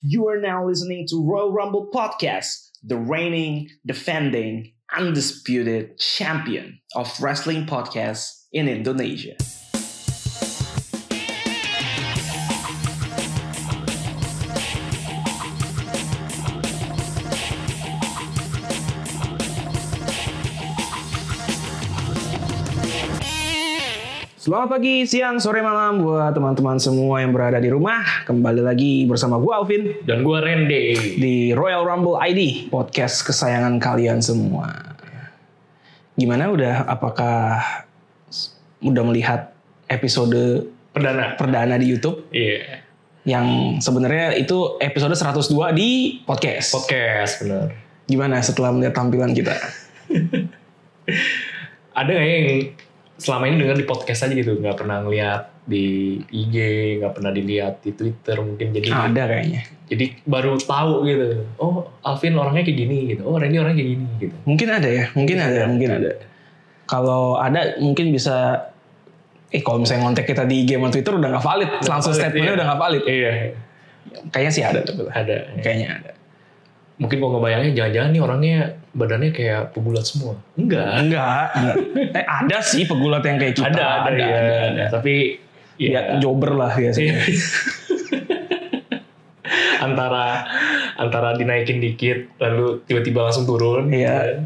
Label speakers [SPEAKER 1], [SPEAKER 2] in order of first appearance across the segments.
[SPEAKER 1] You are now listening to Royal Rumble Podcast, the reigning, defending, undisputed champion of wrestling podcasts in Indonesia. Selamat pagi, siang, sore, malam buat teman-teman semua yang berada di rumah. Kembali lagi bersama gua Alvin
[SPEAKER 2] Dan gue Rende.
[SPEAKER 1] di Royal Rumble ID, podcast kesayangan kalian semua. Gimana udah apakah s- udah melihat episode
[SPEAKER 2] Perdana.
[SPEAKER 1] perdana di YouTube
[SPEAKER 2] Iya.
[SPEAKER 1] yang sebenarnya itu episode 102 di podcast.
[SPEAKER 2] Podcast bener.
[SPEAKER 1] Gimana setelah melihat tampilan kita?
[SPEAKER 2] Ada nggak yang selama ini denger di podcast aja gitu, nggak pernah ngeliat di IG, nggak pernah dilihat di Twitter mungkin jadi
[SPEAKER 1] Ada kayaknya.
[SPEAKER 2] jadi baru tahu gitu. Oh Alvin orangnya kayak gini gitu. Oh Randy orangnya kayak gini gitu.
[SPEAKER 1] Mungkin ada ya, mungkin ada, mungkin ada. Kalau ada mungkin bisa Eh kalau misalnya ngontek kita di IG sama Twitter udah nggak valid, langsung
[SPEAKER 2] valid,
[SPEAKER 1] statementnya
[SPEAKER 2] iya.
[SPEAKER 1] udah nggak valid.
[SPEAKER 2] Iya.
[SPEAKER 1] Kayaknya sih ada tapi
[SPEAKER 2] Ada.
[SPEAKER 1] kayaknya ada.
[SPEAKER 2] Mungkin gua ngebayangin jangan-jangan nih orangnya badannya kayak pegulat semua. Enggak.
[SPEAKER 1] Enggak. enggak. eh ada sih pegulat yang kayak kita.
[SPEAKER 2] Ada, ada, iya,
[SPEAKER 1] ada, ada.
[SPEAKER 2] Tapi
[SPEAKER 1] Ya, jobber lah biasanya.
[SPEAKER 2] Iya. antara antara dinaikin dikit lalu tiba-tiba langsung turun gitu
[SPEAKER 1] Iya.
[SPEAKER 2] kan.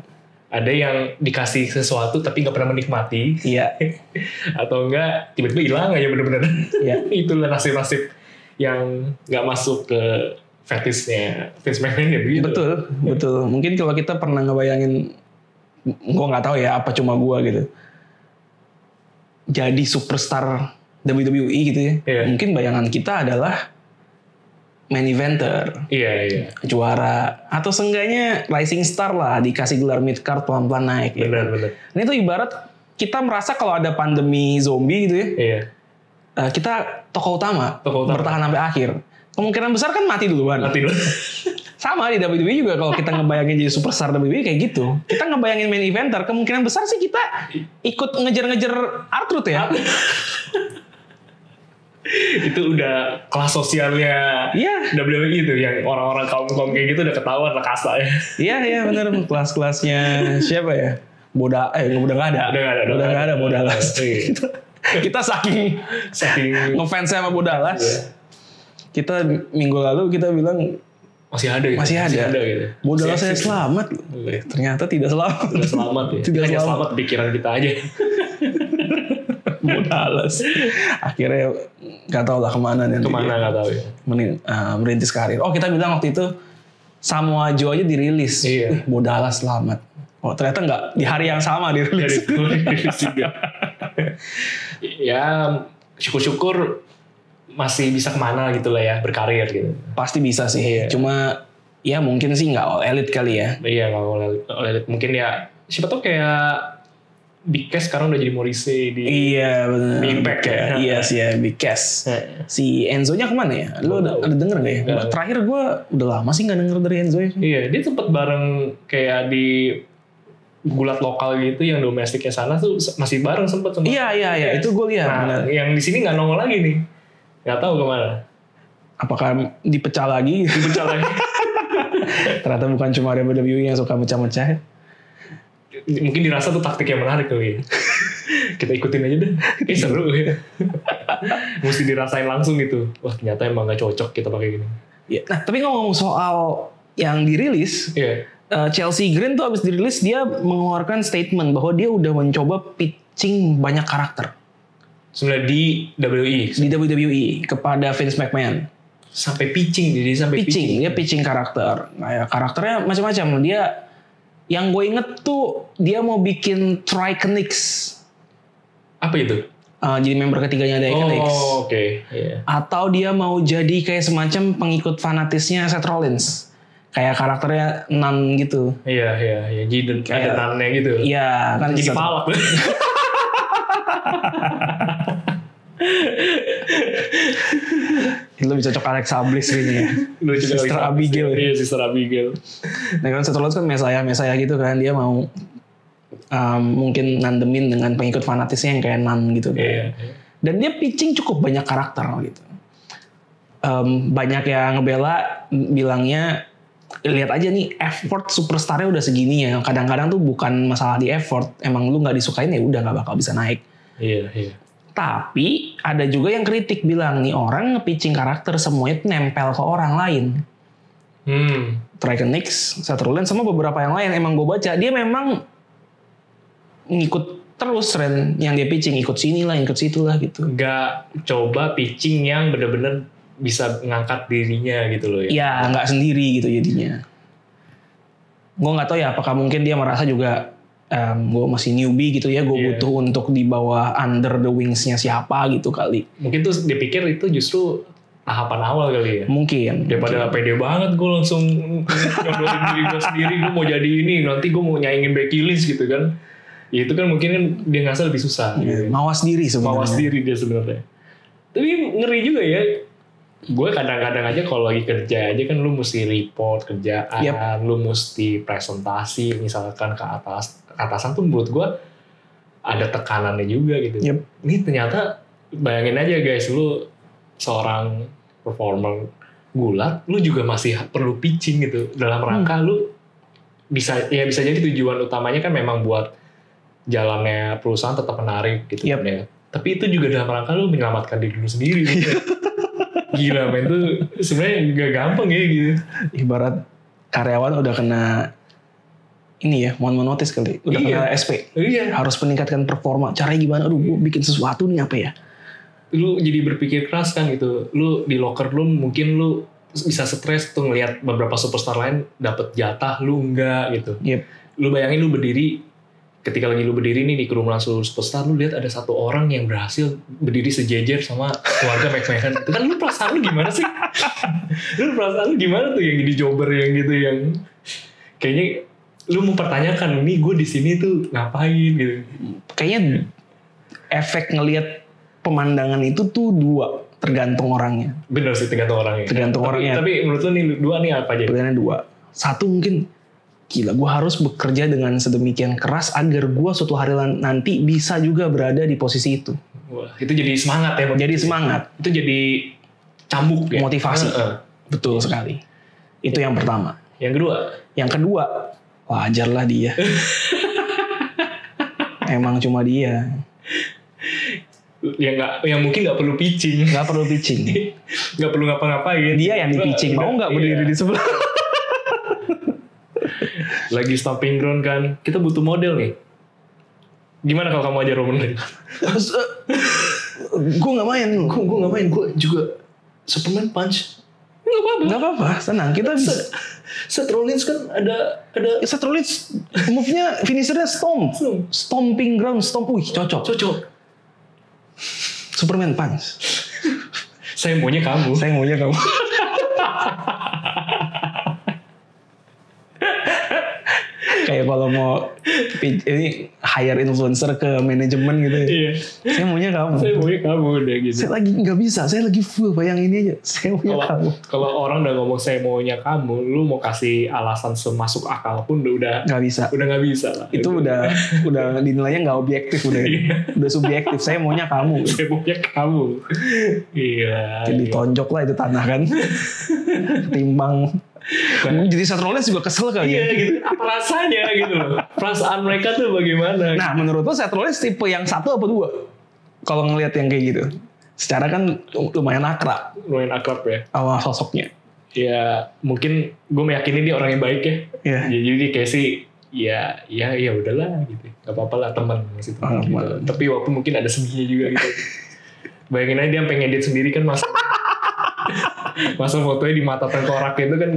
[SPEAKER 2] ada yang dikasih sesuatu tapi nggak pernah menikmati
[SPEAKER 1] Iya,
[SPEAKER 2] atau enggak tiba-tiba hilang aja bener-bener
[SPEAKER 1] Iya.
[SPEAKER 2] itulah nasib-nasib yang nggak masuk ke fetishnya fetish McMahon ya begitu
[SPEAKER 1] betul, betul. Mungkin kalau kita pernah ngebayangin gua nggak tahu ya apa cuma gua gitu. Jadi superstar WWE gitu ya.
[SPEAKER 2] Iya.
[SPEAKER 1] Mungkin bayangan kita adalah main eventer,
[SPEAKER 2] iya iya
[SPEAKER 1] juara atau seenggaknya rising star lah dikasih gelar mid card pelan-pelan naik ya.
[SPEAKER 2] benar-benar
[SPEAKER 1] Ini tuh ibarat kita merasa kalau ada pandemi zombie gitu ya,
[SPEAKER 2] iya
[SPEAKER 1] Eh, kita tokoh utama,
[SPEAKER 2] Tokoh utama.
[SPEAKER 1] bertahan sampai akhir. Kemungkinan besar kan mati duluan.
[SPEAKER 2] nanti dulu
[SPEAKER 1] Sama di WWE juga kalau kita ngebayangin jadi superstar WWE kayak gitu. Kita ngebayangin main eventer, kemungkinan besar sih kita ikut ngejar-ngejar Artrud ya.
[SPEAKER 2] itu udah kelas sosialnya
[SPEAKER 1] Iya,
[SPEAKER 2] WWE itu yang orang-orang kaum kaum kayak gitu udah ketahuan lah kasarnya
[SPEAKER 1] iya, iya bener. Kelas-kelasnya siapa ya? Boda, eh udah gak ada.
[SPEAKER 2] Udah nggak ada, udah
[SPEAKER 1] Udah
[SPEAKER 2] nggak
[SPEAKER 1] gak ada
[SPEAKER 2] ada.
[SPEAKER 1] Bodalas.
[SPEAKER 2] Iya.
[SPEAKER 1] kita, kita saking
[SPEAKER 2] saking
[SPEAKER 1] ngefans sama Bodalas.
[SPEAKER 2] Iya.
[SPEAKER 1] Kita minggu lalu kita bilang
[SPEAKER 2] masih ada gitu.
[SPEAKER 1] Masih ada. ya.
[SPEAKER 2] gitu.
[SPEAKER 1] Bodalas
[SPEAKER 2] Masih
[SPEAKER 1] saya
[SPEAKER 2] eksis.
[SPEAKER 1] selamat.
[SPEAKER 2] Iya.
[SPEAKER 1] Ternyata tidak selamat.
[SPEAKER 2] Sudah selamat ya.
[SPEAKER 1] Sudah
[SPEAKER 2] Kita hanya
[SPEAKER 1] selamat.
[SPEAKER 2] selamat di pikiran kita aja.
[SPEAKER 1] Bodalas. Akhirnya nggak tahu lah kemana nanti.
[SPEAKER 2] Kemana nggak tahu ya.
[SPEAKER 1] Meni- eh, merintis karir. Oh kita bilang waktu itu Samoa Joe aja dirilis.
[SPEAKER 2] Iya.
[SPEAKER 1] Ih, Bodalas selamat. Oh ternyata nggak di hari yang sama
[SPEAKER 2] Dari
[SPEAKER 1] dirilis.
[SPEAKER 2] tulis juga. ya syukur-syukur masih bisa kemana gitu lah ya berkarir gitu.
[SPEAKER 1] Pasti bisa sih. Cuma ya mungkin sih nggak all elite kali ya.
[SPEAKER 2] Iya nggak boleh oleh mungkin ya siapa tau kayak Big Cass sekarang udah jadi Morrissey di
[SPEAKER 1] Iya benar.
[SPEAKER 2] Di Impact ya. Iya.
[SPEAKER 1] Iya sih ya Big Cass. Si Enzo nya kemana ya? Lo udah, udah denger nggak ya?
[SPEAKER 2] Nggak.
[SPEAKER 1] Terakhir gue udah lama sih nggak denger dari Enzo ya.
[SPEAKER 2] Iya, dia sempet bareng kayak di gulat lokal gitu yang domestiknya sana tuh se- masih bareng sempet sama.
[SPEAKER 1] Iya iya iya itu gue lihat. benar.
[SPEAKER 2] Nah, yang di sini nggak nongol lagi nih. Nggak tahu kemana.
[SPEAKER 1] Apakah dipecah lagi?
[SPEAKER 2] Dipecah lagi.
[SPEAKER 1] Ternyata bukan cuma WWE yang suka mecah-mecah. ya.
[SPEAKER 2] Mungkin dirasa tuh taktik yang menarik kali ya. Kita ikutin aja deh. Eh seru ya. Mesti dirasain langsung gitu. Wah ternyata emang nggak cocok kita pakai gini.
[SPEAKER 1] Ya, Nah, tapi ngomong soal yang dirilis,
[SPEAKER 2] Iya.
[SPEAKER 1] eh, Chelsea Green tuh abis dirilis dia mengeluarkan statement bahwa dia udah mencoba pitching banyak karakter
[SPEAKER 2] Sebenarnya di WI
[SPEAKER 1] di WWE kepada Vince McMahon.
[SPEAKER 2] sampai pitching jadi sampai
[SPEAKER 1] Pitching, dia pitching karakter. Nah, ya, karakternya macam-macam. Dia yang gue inget tuh dia mau bikin Triconix.
[SPEAKER 2] Apa itu?
[SPEAKER 1] Eh, jadi member ketiganya ada Iconix.
[SPEAKER 2] Oh, oke. Iya.
[SPEAKER 1] atau dia mau jadi kayak semacam pengikut fanatisnya Seth Rollins kayak karakternya nun gitu
[SPEAKER 2] Iya, iya, iya. Jadi ada
[SPEAKER 1] Kayak-
[SPEAKER 2] nannya gitu.
[SPEAKER 1] iya kan
[SPEAKER 2] jadi
[SPEAKER 1] Seth-
[SPEAKER 2] palak.
[SPEAKER 1] lebih cocok Alex Ablis kayaknya ya.
[SPEAKER 2] Lucu kali.
[SPEAKER 1] Sister Abigail ya.
[SPEAKER 2] Iya, Sister Abigail.
[SPEAKER 1] nah kan Seth Rollins kan mesaya mesaya gitu kan dia mau um, mungkin nandemin dengan pengikut fanatisnya yang kayak nun gitu kan.
[SPEAKER 2] Iya.
[SPEAKER 1] dan dia pitching cukup banyak karakter gitu em, banyak yang ngebela bilangnya lihat aja nih effort superstarnya udah segini ya. Kadang-kadang tuh bukan masalah di effort, emang lu nggak disukain ya udah nggak bakal bisa naik.
[SPEAKER 2] Iya, iya.
[SPEAKER 1] Tapi ada juga yang kritik bilang nih orang nge-pitching karakter semuanya tuh nempel ke orang lain.
[SPEAKER 2] Hmm.
[SPEAKER 1] Triconix, Sutherland sama beberapa yang lain emang gue baca dia memang ngikut terus Ren yang dia pitching ikut sini lah ikut situ lah gitu.
[SPEAKER 2] Nggak coba pitching yang bener-bener bisa ngangkat dirinya gitu loh ya.
[SPEAKER 1] Ya nggak sendiri gitu jadinya. Gue nggak tahu ya apakah mungkin dia merasa juga gue masih newbie gitu ya gue
[SPEAKER 2] Iya.
[SPEAKER 1] butuh untuk di bawah under the wingsnya siapa gitu kali
[SPEAKER 2] Mungkin tuh dia pikir itu justru tahapan awal kali ya.
[SPEAKER 1] mungkin
[SPEAKER 2] Daripada pede banget gue langsung nyodorin diri gue sendiri, gue mau jadi ini, nanti gue mau nyaingin Becky Lynch gitu kan. Ya itu kan mungkin kan dia ngerasa lebih susah. gitu.
[SPEAKER 1] Mungkin. mawas diri sebenarnya.
[SPEAKER 2] mawas diri dia sebenarnya. Tapi ngeri juga ya. Gue kadang-kadang aja kalau lagi kerja aja kan lu mesti report kerjaan, lu mesti presentasi misalkan ke atas ke atasan tuh menurut gue ada tekanannya juga gitu.
[SPEAKER 1] Yep.
[SPEAKER 2] Ini ternyata bayangin aja guys lu seorang performer gulat, lu juga masih perlu pitching gitu dalam rangka lu bisa ya bisa jadi tujuan utamanya kan memang buat jalannya perusahaan tetap menarik gitu
[SPEAKER 1] Yap.
[SPEAKER 2] kan ya. Tapi itu juga dalam rangka lu menyelamatkan diri lu sendiri. gitu. Gila men tuh sebenarnya nggak gampang ya gitu.
[SPEAKER 1] Ibarat karyawan udah kena ini ya mohon mohon notice kali udah
[SPEAKER 2] Iya.
[SPEAKER 1] kena SP
[SPEAKER 2] Iya,
[SPEAKER 1] harus meningkatkan performa caranya gimana aduh gue bikin sesuatu nih apa ya
[SPEAKER 2] lu jadi berpikir keras kan gitu. Lu di locker room mungkin lu bisa stres tuh ngelihat beberapa superstar lain dapat jatah lu enggak gitu.
[SPEAKER 1] Yep.
[SPEAKER 2] Lu bayangin lu berdiri ketika lagi lu berdiri nih di kerumunan seluruh superstar lu lihat ada satu orang yang berhasil berdiri sejejer sama keluarga McMahon. Itu kan lu perasaan lu gimana sih? lu perasaan lu gimana tuh yang jadi jobber yang gitu yang kayaknya lu mempertanyakan nih gue di sini tuh ngapain gitu.
[SPEAKER 1] kayaknya efek ngelihat pemandangan itu tuh dua tergantung orangnya
[SPEAKER 2] Bener sih tergantung orangnya.
[SPEAKER 1] Tergantung
[SPEAKER 2] Tapi-
[SPEAKER 1] orangnya.
[SPEAKER 2] Tapi menurut lu nih dua nih apa aja?
[SPEAKER 1] perbedaannya dua satu mungkin gila gue harus bekerja dengan sedemikian keras agar gue suatu hari lan- nanti bisa juga berada di posisi itu
[SPEAKER 2] Wah, itu jadi semangat ya.
[SPEAKER 1] jadi semangat
[SPEAKER 2] Itu jadi cambuk ya.
[SPEAKER 1] Motivasi.
[SPEAKER 2] Heeh.
[SPEAKER 1] betul sekali itu yang pertama
[SPEAKER 2] Yang kedua,
[SPEAKER 1] yang kedua wajarlah dia emang cuma dia
[SPEAKER 2] yang ya nggak, yang mungkin nggak perlu pitching,
[SPEAKER 1] nggak perlu pitching
[SPEAKER 2] nggak perlu ngapa-ngapain.
[SPEAKER 1] dia yang dipicing mau nggak berdiri
[SPEAKER 2] Iya.
[SPEAKER 1] di sebelah
[SPEAKER 2] Lagi stomping ground kan, kita butuh model nih. Gimana kalau kamu aja Roman?
[SPEAKER 1] gue nggak main
[SPEAKER 2] gue gue nggak main, gue juga Superman punch. Nggak apa-apa.
[SPEAKER 1] nggak apa-apa tenang kita bisa
[SPEAKER 2] Seth Rollins kan ada ada
[SPEAKER 1] Seth Rollins move-nya finishernya stomp
[SPEAKER 2] Stomp.
[SPEAKER 1] stomping ground stomp wih cocok
[SPEAKER 2] cocok.
[SPEAKER 1] Superman punch
[SPEAKER 2] Saya maunya kamu.
[SPEAKER 1] saya maunya kamu kayak kalau mau pi- ini hire influencer ke manajemen gitu ya.
[SPEAKER 2] Iya.
[SPEAKER 1] saya maunya kamu
[SPEAKER 2] Saya maunya kamu udah gitu.
[SPEAKER 1] saya lagi nggak bisa saya lagi full bayang ini aja saya maunya
[SPEAKER 2] kalau
[SPEAKER 1] kamu
[SPEAKER 2] kalau orang udah ngomong saya maunya kamu, lu mau kasih alasan semasuk akal pun udah
[SPEAKER 1] nggak bisa
[SPEAKER 2] udah nggak bisa lah. Gitu.
[SPEAKER 1] itu udah udah dinilainya nggak objektif udah
[SPEAKER 2] Iya.
[SPEAKER 1] udah subjektif saya maunya kamu
[SPEAKER 2] saya maunya kamu. Iya.
[SPEAKER 1] jadi tonjok lah itu tanah kan timbang jadi Seth Rollins juga kesel kali
[SPEAKER 2] Iya
[SPEAKER 1] ya
[SPEAKER 2] gitu. Apa rasanya gitu loh? Perasaan mereka tuh bagaimana?
[SPEAKER 1] nah menurut lo Seth Rollins tipe yang satu apa dua kalau ngelihat yang kayak gitu secara kan lumayan akrab
[SPEAKER 2] Lumayan akrab ya.
[SPEAKER 1] sama sosoknya
[SPEAKER 2] Ya mungkin gue meyakini dia orang yang baik ya.
[SPEAKER 1] Iya.
[SPEAKER 2] Ya, Jadi kayak sih ya ya ya udahlah gitu gak apa-apa lah teman masih
[SPEAKER 1] Ah,
[SPEAKER 2] teman gitu.
[SPEAKER 1] teman.
[SPEAKER 2] tapi walaupun mungkin ada seninya juga gitu bayangin aja dia pengen edit sendiri kan masa masa fotonya di mata tengkorak itu kan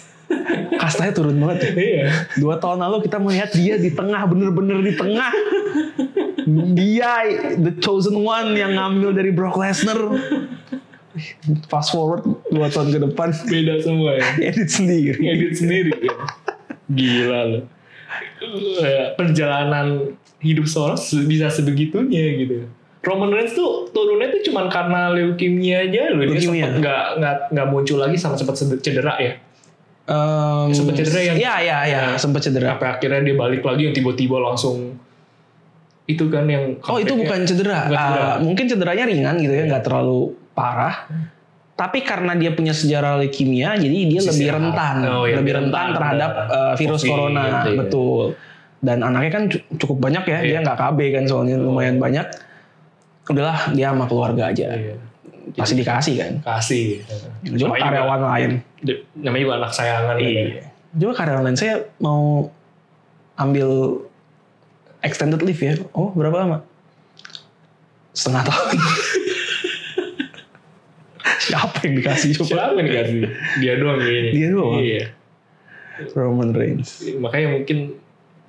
[SPEAKER 1] kastanya turun banget ya.
[SPEAKER 2] iya
[SPEAKER 1] dua tahun lalu kita melihat dia di tengah bener-bener di tengah dia the chosen one yang ngambil dari Brock Lesnar fast forward dua tahun ke depan
[SPEAKER 2] beda semua ya
[SPEAKER 1] edit sendiri
[SPEAKER 2] edit sendiri kan. gila loh Eh, perjalanan hidup seorang se- bisa sebegitunya gitu Roman Reigns tuh turunnya tuh cuman karena leukemia aja loh dia
[SPEAKER 1] Leukemia.
[SPEAKER 2] sempet nggak nggak nggak muncul lagi sama sempat cedera ya
[SPEAKER 1] Em,
[SPEAKER 2] Sempet cedera yang-
[SPEAKER 1] ya ya ya
[SPEAKER 2] Ya.
[SPEAKER 1] sempet cedera
[SPEAKER 2] sampai akhirnya dia balik lagi yang tiba-tiba langsung itu kan yang
[SPEAKER 1] Oh itu
[SPEAKER 2] comeback-nya.
[SPEAKER 1] bukan cedera.
[SPEAKER 2] Bukan
[SPEAKER 1] Ah,
[SPEAKER 2] cedera.
[SPEAKER 1] mungkin cederanya ringan gitu ya, nggak terlalu parah. Tapi karena dia punya sejarah leukemia, jadi dia
[SPEAKER 2] Sisi
[SPEAKER 1] lebih
[SPEAKER 2] sehat.
[SPEAKER 1] rentan,
[SPEAKER 2] Oh,
[SPEAKER 1] lebih
[SPEAKER 2] iya, lebih
[SPEAKER 1] rentan
[SPEAKER 2] rentan
[SPEAKER 1] terhadap
[SPEAKER 2] terhadap
[SPEAKER 1] eh, virus
[SPEAKER 2] COVID,
[SPEAKER 1] corona,
[SPEAKER 2] gitu ya.
[SPEAKER 1] betul. Dan anaknya kan cu- cukup banyak ya, dia
[SPEAKER 2] Iya.
[SPEAKER 1] nggak KB kan soalnya
[SPEAKER 2] Oh.
[SPEAKER 1] lumayan banyak. Udahlah dia sama keluarga aja,
[SPEAKER 2] Iya.
[SPEAKER 1] pasti dikasih kan.
[SPEAKER 2] Kasih.
[SPEAKER 1] Cuma
[SPEAKER 2] Namanya
[SPEAKER 1] karyawan lain,
[SPEAKER 2] juga, namanya juga anak sayangan.
[SPEAKER 1] Iya.
[SPEAKER 2] kan.
[SPEAKER 1] cuma karyawan lain saya mau ambil extended leave ya. Oh berapa lama? Setengah tahun. Siapa yang dikasih coba?
[SPEAKER 2] Siapa yang dikasih? kan Dia doang ini.
[SPEAKER 1] Dia doang.
[SPEAKER 2] Iya.
[SPEAKER 1] Roman Reigns.
[SPEAKER 2] Makanya mungkin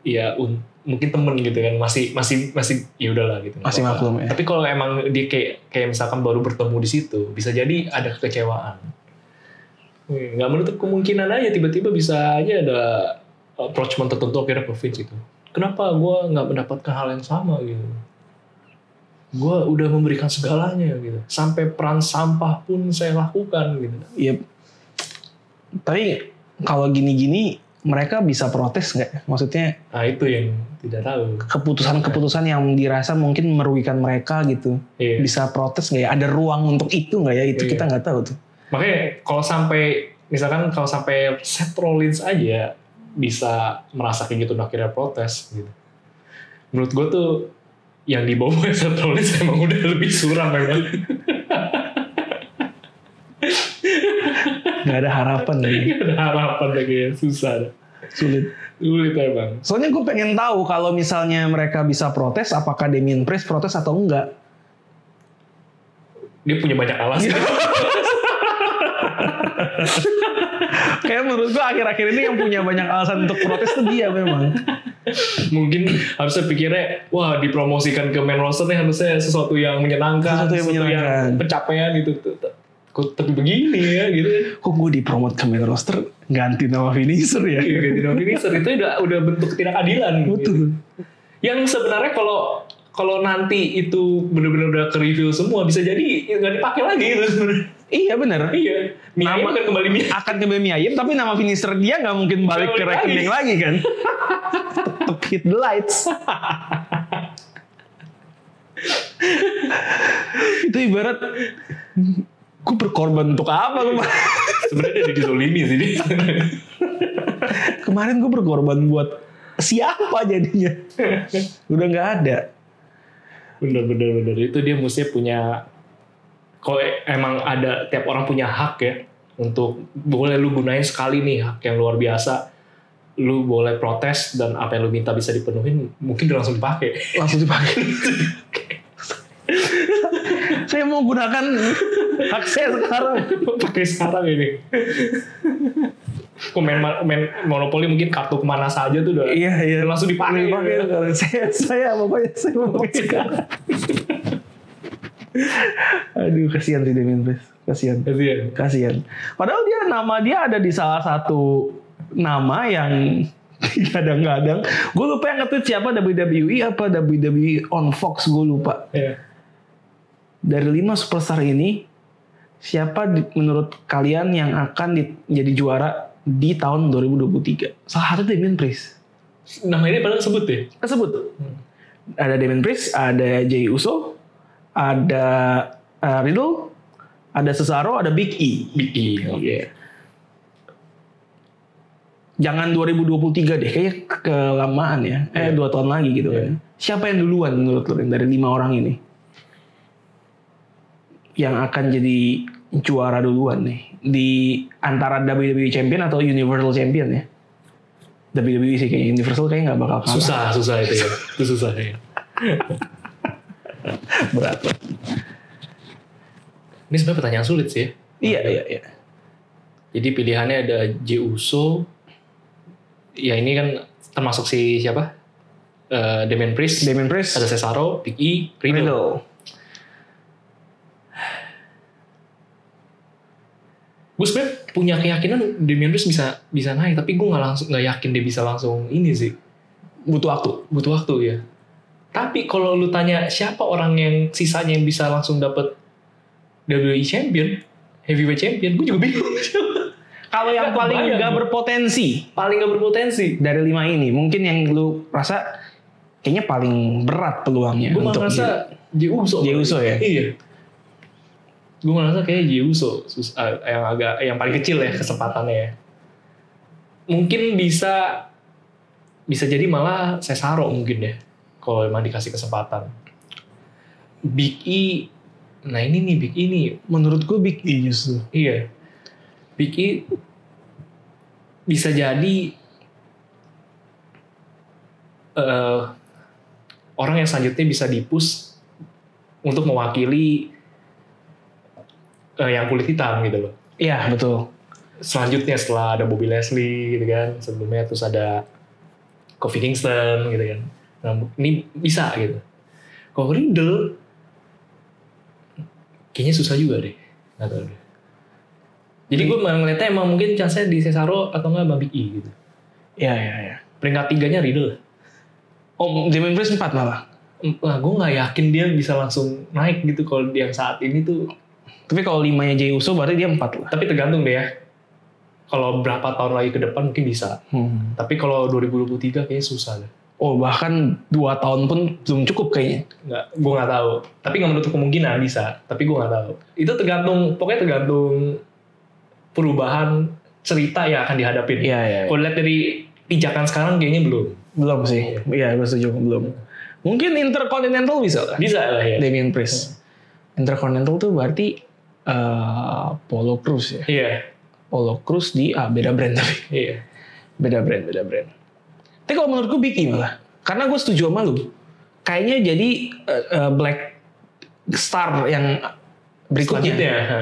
[SPEAKER 2] ya un- mungkin temen gitu kan masih masih masih ya udahlah gitu.
[SPEAKER 1] Masih
[SPEAKER 2] Nggak apa-apa.
[SPEAKER 1] maklum ya.
[SPEAKER 2] Tapi kalau emang dia kayak kayak misalkan baru bertemu di situ, bisa jadi ada kekecewaan. Hmm, Nggak menutup kemungkinan aja tiba-tiba bisa aja ada approachment tertentu akhirnya ke Vince gitu. Kenapa gue nggak mendapatkan hal yang sama gitu? Gue udah memberikan segalanya gitu, sampai peran sampah pun saya lakukan gitu.
[SPEAKER 1] Iya. Tapi kalau gini-gini mereka bisa protes nggak? Maksudnya
[SPEAKER 2] Nah itu yang tidak tahu.
[SPEAKER 1] keputusan-keputusan yang dirasa mungkin merugikan mereka gitu
[SPEAKER 2] Iya.
[SPEAKER 1] bisa protes nggak ya? Ada ruang untuk itu nggak ya? Itu
[SPEAKER 2] Iya.
[SPEAKER 1] kita nggak tahu tuh.
[SPEAKER 2] Makanya kalau sampai misalkan kalau sampai Seth Rollins aja bisa merasa kayak gitu dan akhirnya protes gitu. Menurut gue tuh yang dibawa oleh Seth Rollins emang udah lebih suram memang.
[SPEAKER 1] Nggak ada harapan lagi.
[SPEAKER 2] Gak ada harapan lagi ya. susah. dah.
[SPEAKER 1] Sulit.
[SPEAKER 2] Sulit emang.
[SPEAKER 1] Soalnya gue pengen tahu kalau misalnya mereka bisa protes, apakah Damien Priest protes atau enggak?
[SPEAKER 2] Dia punya banyak alasan.
[SPEAKER 1] Kayak menurut gue akhir-akhir ini yang punya banyak alasan untuk protes tuh dia memang.
[SPEAKER 2] Mungkin harusnya pikirnya, wah dipromosikan ke main roster nih harusnya sesuatu yang menyenangkan,
[SPEAKER 1] Sesuatu yang menyenangkan.
[SPEAKER 2] pencapaian gitu. Kok tapi begini ya gitu.
[SPEAKER 1] Kok gue dipromot ke main roster ganti nama finisher ya?
[SPEAKER 2] Iya, ganti nama finisher itu udah udah bentuk ketidakadilan. gitu.
[SPEAKER 1] Betul.
[SPEAKER 2] Yang sebenarnya kalau kalau nanti itu benar-benar udah ke review semua bisa jadi nggak dipakai lagi itu sebenarnya.
[SPEAKER 1] Iya bener.
[SPEAKER 2] Iya, mie ayam akan kembali mie.
[SPEAKER 1] akan ke Bemi Ayem tapi nama finisher dia nggak mungkin balik ke
[SPEAKER 2] Balik
[SPEAKER 1] rekening lagi kan tetep hit the lights itu ibarat gue berkorban untuk apa kemarin
[SPEAKER 2] Sebenarnya jadi zolimi sih. dia.
[SPEAKER 1] kemarin gue berkorban buat siapa jadinya udah nggak ada
[SPEAKER 2] bener bener bener itu dia mesti punya kalau emang ada tiap orang punya hak ya untuk boleh lu gunain sekali nih hak yang luar biasa lu boleh protes dan apa yang lu minta bisa dipenuhin mungkin udah langsung dipakai
[SPEAKER 1] langsung dipakai saya mau gunakan hak saya sekarang
[SPEAKER 2] pakai sekarang ini komen main monopoli mungkin kartu kemana saja tuh udah
[SPEAKER 1] iya iya
[SPEAKER 2] udah langsung dipakai
[SPEAKER 1] Dipakai
[SPEAKER 2] gitu. Iya.
[SPEAKER 1] sekarang. saya saya pokoknya saya mau pakai sekarang aduh kasihan sih Damien Priest kasihan
[SPEAKER 2] Kasihan.
[SPEAKER 1] kasihan padahal dia nama dia ada di salah satu nama yang kadang-kadang gue lupa yang nge-tweet siapa WWE apa WWE on Fox gue lupa
[SPEAKER 2] Iya.
[SPEAKER 1] dari lima superstar ini siapa di- menurut kalian yang akan di- jadi juara di tahun 2023 salah satu Damien Priest
[SPEAKER 2] nama ini padahal sebut ya
[SPEAKER 1] tersebut. Ada Damien Priest, ada Jey Uso, ada uh, Riddle, ada Cesaro, ada Big E.
[SPEAKER 2] Big E oke
[SPEAKER 1] Jangan 2023 deh, kayaknya kelamaan ya. Eh, dua tahun lagi gitu
[SPEAKER 2] Iya.
[SPEAKER 1] kan. Siapa yang duluan menurut lo Rin, dari lima orang ini? Yang akan jadi juara duluan nih. Di antara WWE Champion atau Universal Champion ya? WWE sih kayaknya. Universal kayaknya nggak bakal kalah.
[SPEAKER 2] susah susah itu ya itu susah ya
[SPEAKER 1] Berat.
[SPEAKER 2] ini sebenarnya pertanyaan sulit sih ya.
[SPEAKER 1] Iya, iya, iya.
[SPEAKER 2] Jadi pilihannya ada J Uso. Ya ini kan termasuk si siapa? Eh Damian Priest.
[SPEAKER 1] Damien Priest,
[SPEAKER 2] Ada Cesaro, Big E, Riddle. Gue sebenernya punya keyakinan Damian Priest bisa bisa naik. Tapi gue gak, langsung, nggak yakin dia bisa langsung ini sih.
[SPEAKER 1] butuh waktu.
[SPEAKER 2] Butuh waktu ya. Tapi kalau lu tanya siapa orang yang sisanya yang bisa langsung dapet WWE Champion, Heavyweight Champion, gue juga bingung.
[SPEAKER 1] Kalau yang
[SPEAKER 2] Nggak
[SPEAKER 1] paling
[SPEAKER 2] kebayang
[SPEAKER 1] nggak
[SPEAKER 2] gua.
[SPEAKER 1] berpotensi
[SPEAKER 2] Paling gak berpotensi.
[SPEAKER 1] dari lima ini, mungkin yang lu rasa kayaknya paling berat peluangnya
[SPEAKER 2] gue malah
[SPEAKER 1] untuk
[SPEAKER 2] merasa Jey Uso.
[SPEAKER 1] Jey Uso ya?
[SPEAKER 2] Iya. gue merasa kayak Jeuso sus- ah, yang agak yang paling kecil ya kesempatannya ya. mungkin bisa bisa jadi malah Cesaro mungkin ya kalau emang dikasih kesempatan Big E nah ini nih Big E nih
[SPEAKER 1] Menurut gue Big E justru.
[SPEAKER 2] Iya. Big E bisa jadi eh orang yang selanjutnya bisa dipus untuk mewakili eh, yang kulit hitam gitu loh.
[SPEAKER 1] Iya betul.
[SPEAKER 2] Selanjutnya setelah ada Bobby Leslie gitu kan, sebelumnya terus ada Kofi Kingston gitu kan. Nah, ini bisa gitu. Kalau Riddle kayaknya susah juga deh. Nggak tahu deh. Jadi gue ngeliatnya emang mungkin chance-nya di Cesaro atau nggak Bang Big E gitu.
[SPEAKER 1] Iya iya iya.
[SPEAKER 2] Peringkat tiganya Riddle.
[SPEAKER 1] Oh Damien Priest 4 malah.
[SPEAKER 2] Em, Nah, gue nggak yakin dia bisa langsung naik gitu kalau yang saat ini tuh.
[SPEAKER 1] Tapi kalau limanya Jey Uso berarti dia 4 lah.
[SPEAKER 2] Tapi tergantung deh ya. Kalau berapa tahun lagi ke depan mungkin bisa.
[SPEAKER 1] Hmm.
[SPEAKER 2] Tapi kalau 2023 kayaknya susah deh.
[SPEAKER 1] Oh bahkan 2 tahun pun belum cukup kayaknya.
[SPEAKER 2] Nggak, gue nggak tahu. Tapi nggak menutup kemungkinan bisa. Tapi gue nggak tahu. Itu tergantung, pokoknya tergantung perubahan cerita yang akan dihadapin.
[SPEAKER 1] Iya iya. iya.
[SPEAKER 2] Kalau lihat dari pijakan sekarang kayaknya belum.
[SPEAKER 1] Belum sih. Iya gue setuju belum. Mungkin Intercontinental bisa lah.
[SPEAKER 2] Bisa lah ya.
[SPEAKER 1] Damien Priest. Intercontinental tuh berarti eh Polo Cruz ya.
[SPEAKER 2] Iya,
[SPEAKER 1] Polo Cruz di ah beda brand tapi
[SPEAKER 2] iya.
[SPEAKER 1] beda brand beda brand. Tapi kalau menurut gue Big E malah karena gue setuju sama lu. Kayaknya jadi eh, eh, Black Star yang berikutnya.
[SPEAKER 2] Selanjutnya, ya, ha.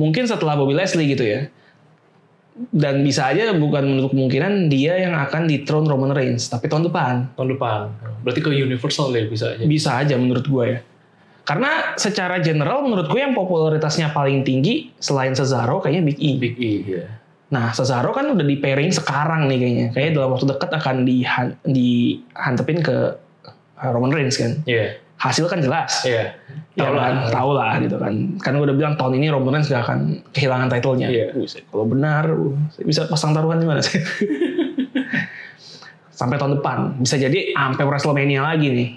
[SPEAKER 1] Mungkin setelah Bobby Leslie gitu ya. Dan bisa aja bukan menutup kemungkinan dia yang akan di throne Roman Reigns tapi tahun depan.
[SPEAKER 2] tahun depan. Berarti ke universal ya bisa aja.
[SPEAKER 1] bisa aja menurut gue ya. Karena secara general menurut gue yang popularitasnya paling tinggi selain Cesaro kayaknya Big E.
[SPEAKER 2] Big E, ya.
[SPEAKER 1] Nah Cesaro kan udah di pairing sekarang nih kayaknya. Kayaknya dalam waktu dekat akan dihan- dihantepin ke Roman Reigns kan.
[SPEAKER 2] Iya,
[SPEAKER 1] Hasil kan jelas.
[SPEAKER 2] iya.
[SPEAKER 1] Ya
[SPEAKER 2] Tahu
[SPEAKER 1] kan?
[SPEAKER 2] lah.
[SPEAKER 1] Tahu lah gitu kan. Kan gue udah bilang tahun ini Roman Reigns gak akan kehilangan titlenya.
[SPEAKER 2] Iya.
[SPEAKER 1] Buset, Kalau benar, uh, saya bisa pasang taruhan di mana sih? sampai tahun depan. Bisa jadi sampai WrestleMania lagi nih.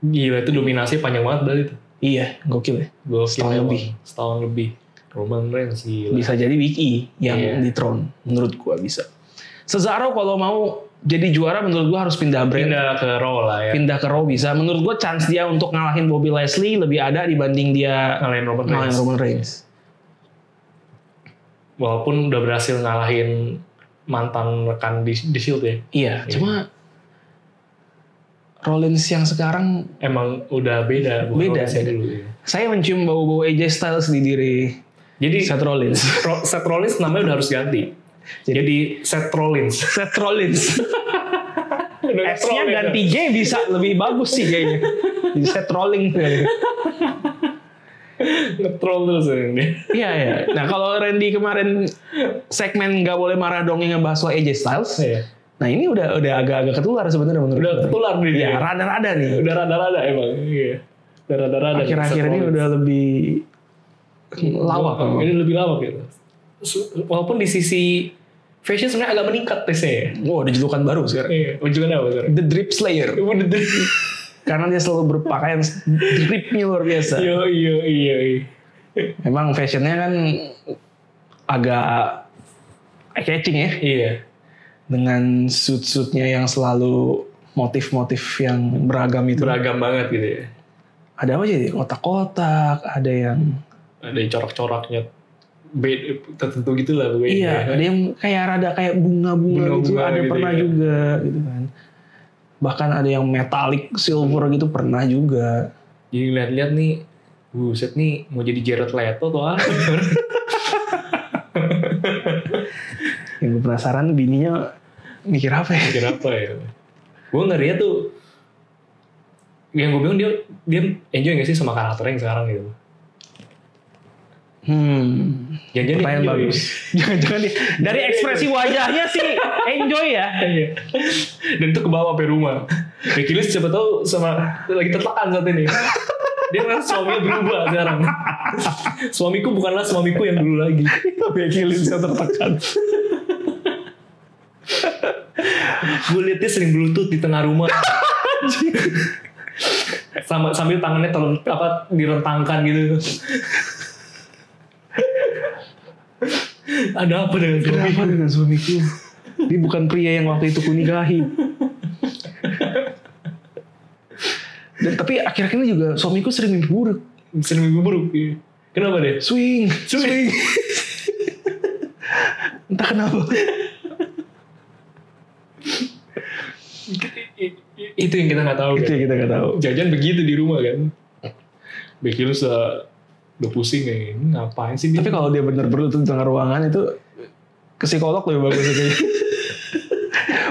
[SPEAKER 2] Gila itu dominasi panjang banget berarti itu.
[SPEAKER 1] Iya, gokil ya.
[SPEAKER 2] Gua
[SPEAKER 1] Setahun
[SPEAKER 2] kira
[SPEAKER 1] lebih.
[SPEAKER 2] emang Setahun lebih. Roman Reigns gila.
[SPEAKER 1] bisa jadi Big E yang
[SPEAKER 2] Iya.
[SPEAKER 1] di throne menurut gua bisa Cesaro kalau mau jadi juara menurut gua harus pindah brand pindah,
[SPEAKER 2] Pindah ke Raw lah ya.
[SPEAKER 1] ke Raw bisa menurut gua chance dia untuk ngalahin Bobby Leslie lebih ada dibanding dia
[SPEAKER 2] Ngalahin Roman
[SPEAKER 1] ngalahin
[SPEAKER 2] Reigns.
[SPEAKER 1] Roman Reigns
[SPEAKER 2] Walaupun udah berhasil ngalahin mantan rekan di, di Shield ya.
[SPEAKER 1] iya
[SPEAKER 2] Iya.
[SPEAKER 1] cuma Rollins yang sekarang
[SPEAKER 2] Emang udah beda.
[SPEAKER 1] Beda,
[SPEAKER 2] Rollins yang
[SPEAKER 1] beda.
[SPEAKER 2] Dulu, ya.
[SPEAKER 1] saya mencium bau-bau AJ Styles di diri
[SPEAKER 2] Jadi
[SPEAKER 1] Seth Rollins
[SPEAKER 2] Ro- Seth Rollins namanya udah harus ganti.
[SPEAKER 1] Jadi-
[SPEAKER 2] Jadi Seth Rollins.
[SPEAKER 1] Seth Rollins S-nya ganti J bisa lebih bagus sih kayaknya Jadi Seth Rollins
[SPEAKER 2] Ngetrol terus ya, ini.
[SPEAKER 1] Iya iya. Nah kalau Randy kemarin segmen nggak boleh marah dong yang ngebahas soal AJ Styles.
[SPEAKER 2] Iya.
[SPEAKER 1] Nah ini udah udah agak-agak ketular sebenarnya menurut
[SPEAKER 2] Udah
[SPEAKER 1] gue.
[SPEAKER 2] ketular nih dia.
[SPEAKER 1] Iya rada-rada nih.
[SPEAKER 2] Udah rada-rada emang. Iya. Udah rada-rada.
[SPEAKER 1] Akhir-akhir ini udah lebih lawak.
[SPEAKER 2] Lawak. Ini lebih lawak gitu. Walaupun di sisi fashion sebenarnya agak meningkat tesnya ya.
[SPEAKER 1] Wow, ada julukan baru sekarang.
[SPEAKER 2] Iya. Ujungnya apa sekarang?
[SPEAKER 1] The Drip Slayer.
[SPEAKER 2] Udah deh.
[SPEAKER 1] Karena dia selalu berpakaian dripnya luar biasa.
[SPEAKER 2] Yo yo yo. yo.
[SPEAKER 1] Memang fashionnya kan agak eye catching ya.
[SPEAKER 2] Iya.
[SPEAKER 1] Dengan suit-suitnya yang selalu motif-motif yang beragam itu.
[SPEAKER 2] Beragam banget gitu ya.
[SPEAKER 1] ada apa aja deh kotak-kotak ada yang
[SPEAKER 2] Ada yang corak-coraknya beda tertentu gitu lah pokoknya.
[SPEAKER 1] iya ada yang kayak rada kayak bunga-bunga gitu
[SPEAKER 2] Bunga-bunga
[SPEAKER 1] ada
[SPEAKER 2] gitu,
[SPEAKER 1] pernah
[SPEAKER 2] iya.
[SPEAKER 1] juga gitu kan bahkan ada yang metalik silver gitu pernah juga
[SPEAKER 2] Jadi lihat-lihat nih, buset nih mau jadi Jared Leto tuh ah.
[SPEAKER 1] yang gue penasaran bininya mikir apa ya
[SPEAKER 2] Kenapa ya? Gue ngerinya tuh yang gue bilang dia dia enjoy gak sih sama karakternya yang sekarang gitu.
[SPEAKER 1] hmm
[SPEAKER 2] Jangan-jangan dia
[SPEAKER 1] pertanyaan
[SPEAKER 2] enjoy.
[SPEAKER 1] bagus jangan-jangan dia- dari ekspresi wajahnya sih enjoy ya
[SPEAKER 2] Iya. Dan itu ke bawah sampai rumah. Rikilis siapa tahu sama lagi tertekan saat ini. Dia merasa suaminya berubah sekarang. Suamiku bukanlah suamiku yang dulu lagi.
[SPEAKER 1] Becky Lynch yang tertekan
[SPEAKER 2] Gue liat dia sering berlutut di tengah rumah. sama sambil tangannya terlen- apa direntangkan gitu. Ada apa dengan
[SPEAKER 1] Kenapa
[SPEAKER 2] suamiku?
[SPEAKER 1] dengan suamiku? Dia bukan pria yang waktu itu kunikahi. Dan tapi akhir-akhir ini juga suamiku sering mimpi buruk.
[SPEAKER 2] Sering mimpi buruk. iya. Kenapa deh?
[SPEAKER 1] Swing,
[SPEAKER 2] Swing.
[SPEAKER 1] entah kenapa.
[SPEAKER 2] Itu yang kita nggak tahu
[SPEAKER 1] Itu
[SPEAKER 2] kan.
[SPEAKER 1] yang kita nggak tahu.
[SPEAKER 2] Jajan begitu di rumah kan. Bikin lu se udah pusing kayak ini ngapain sih dia?
[SPEAKER 1] Tapi kalau dia bener perlu tuh di tengah ruangan itu ke psikolog lebih bagus itu.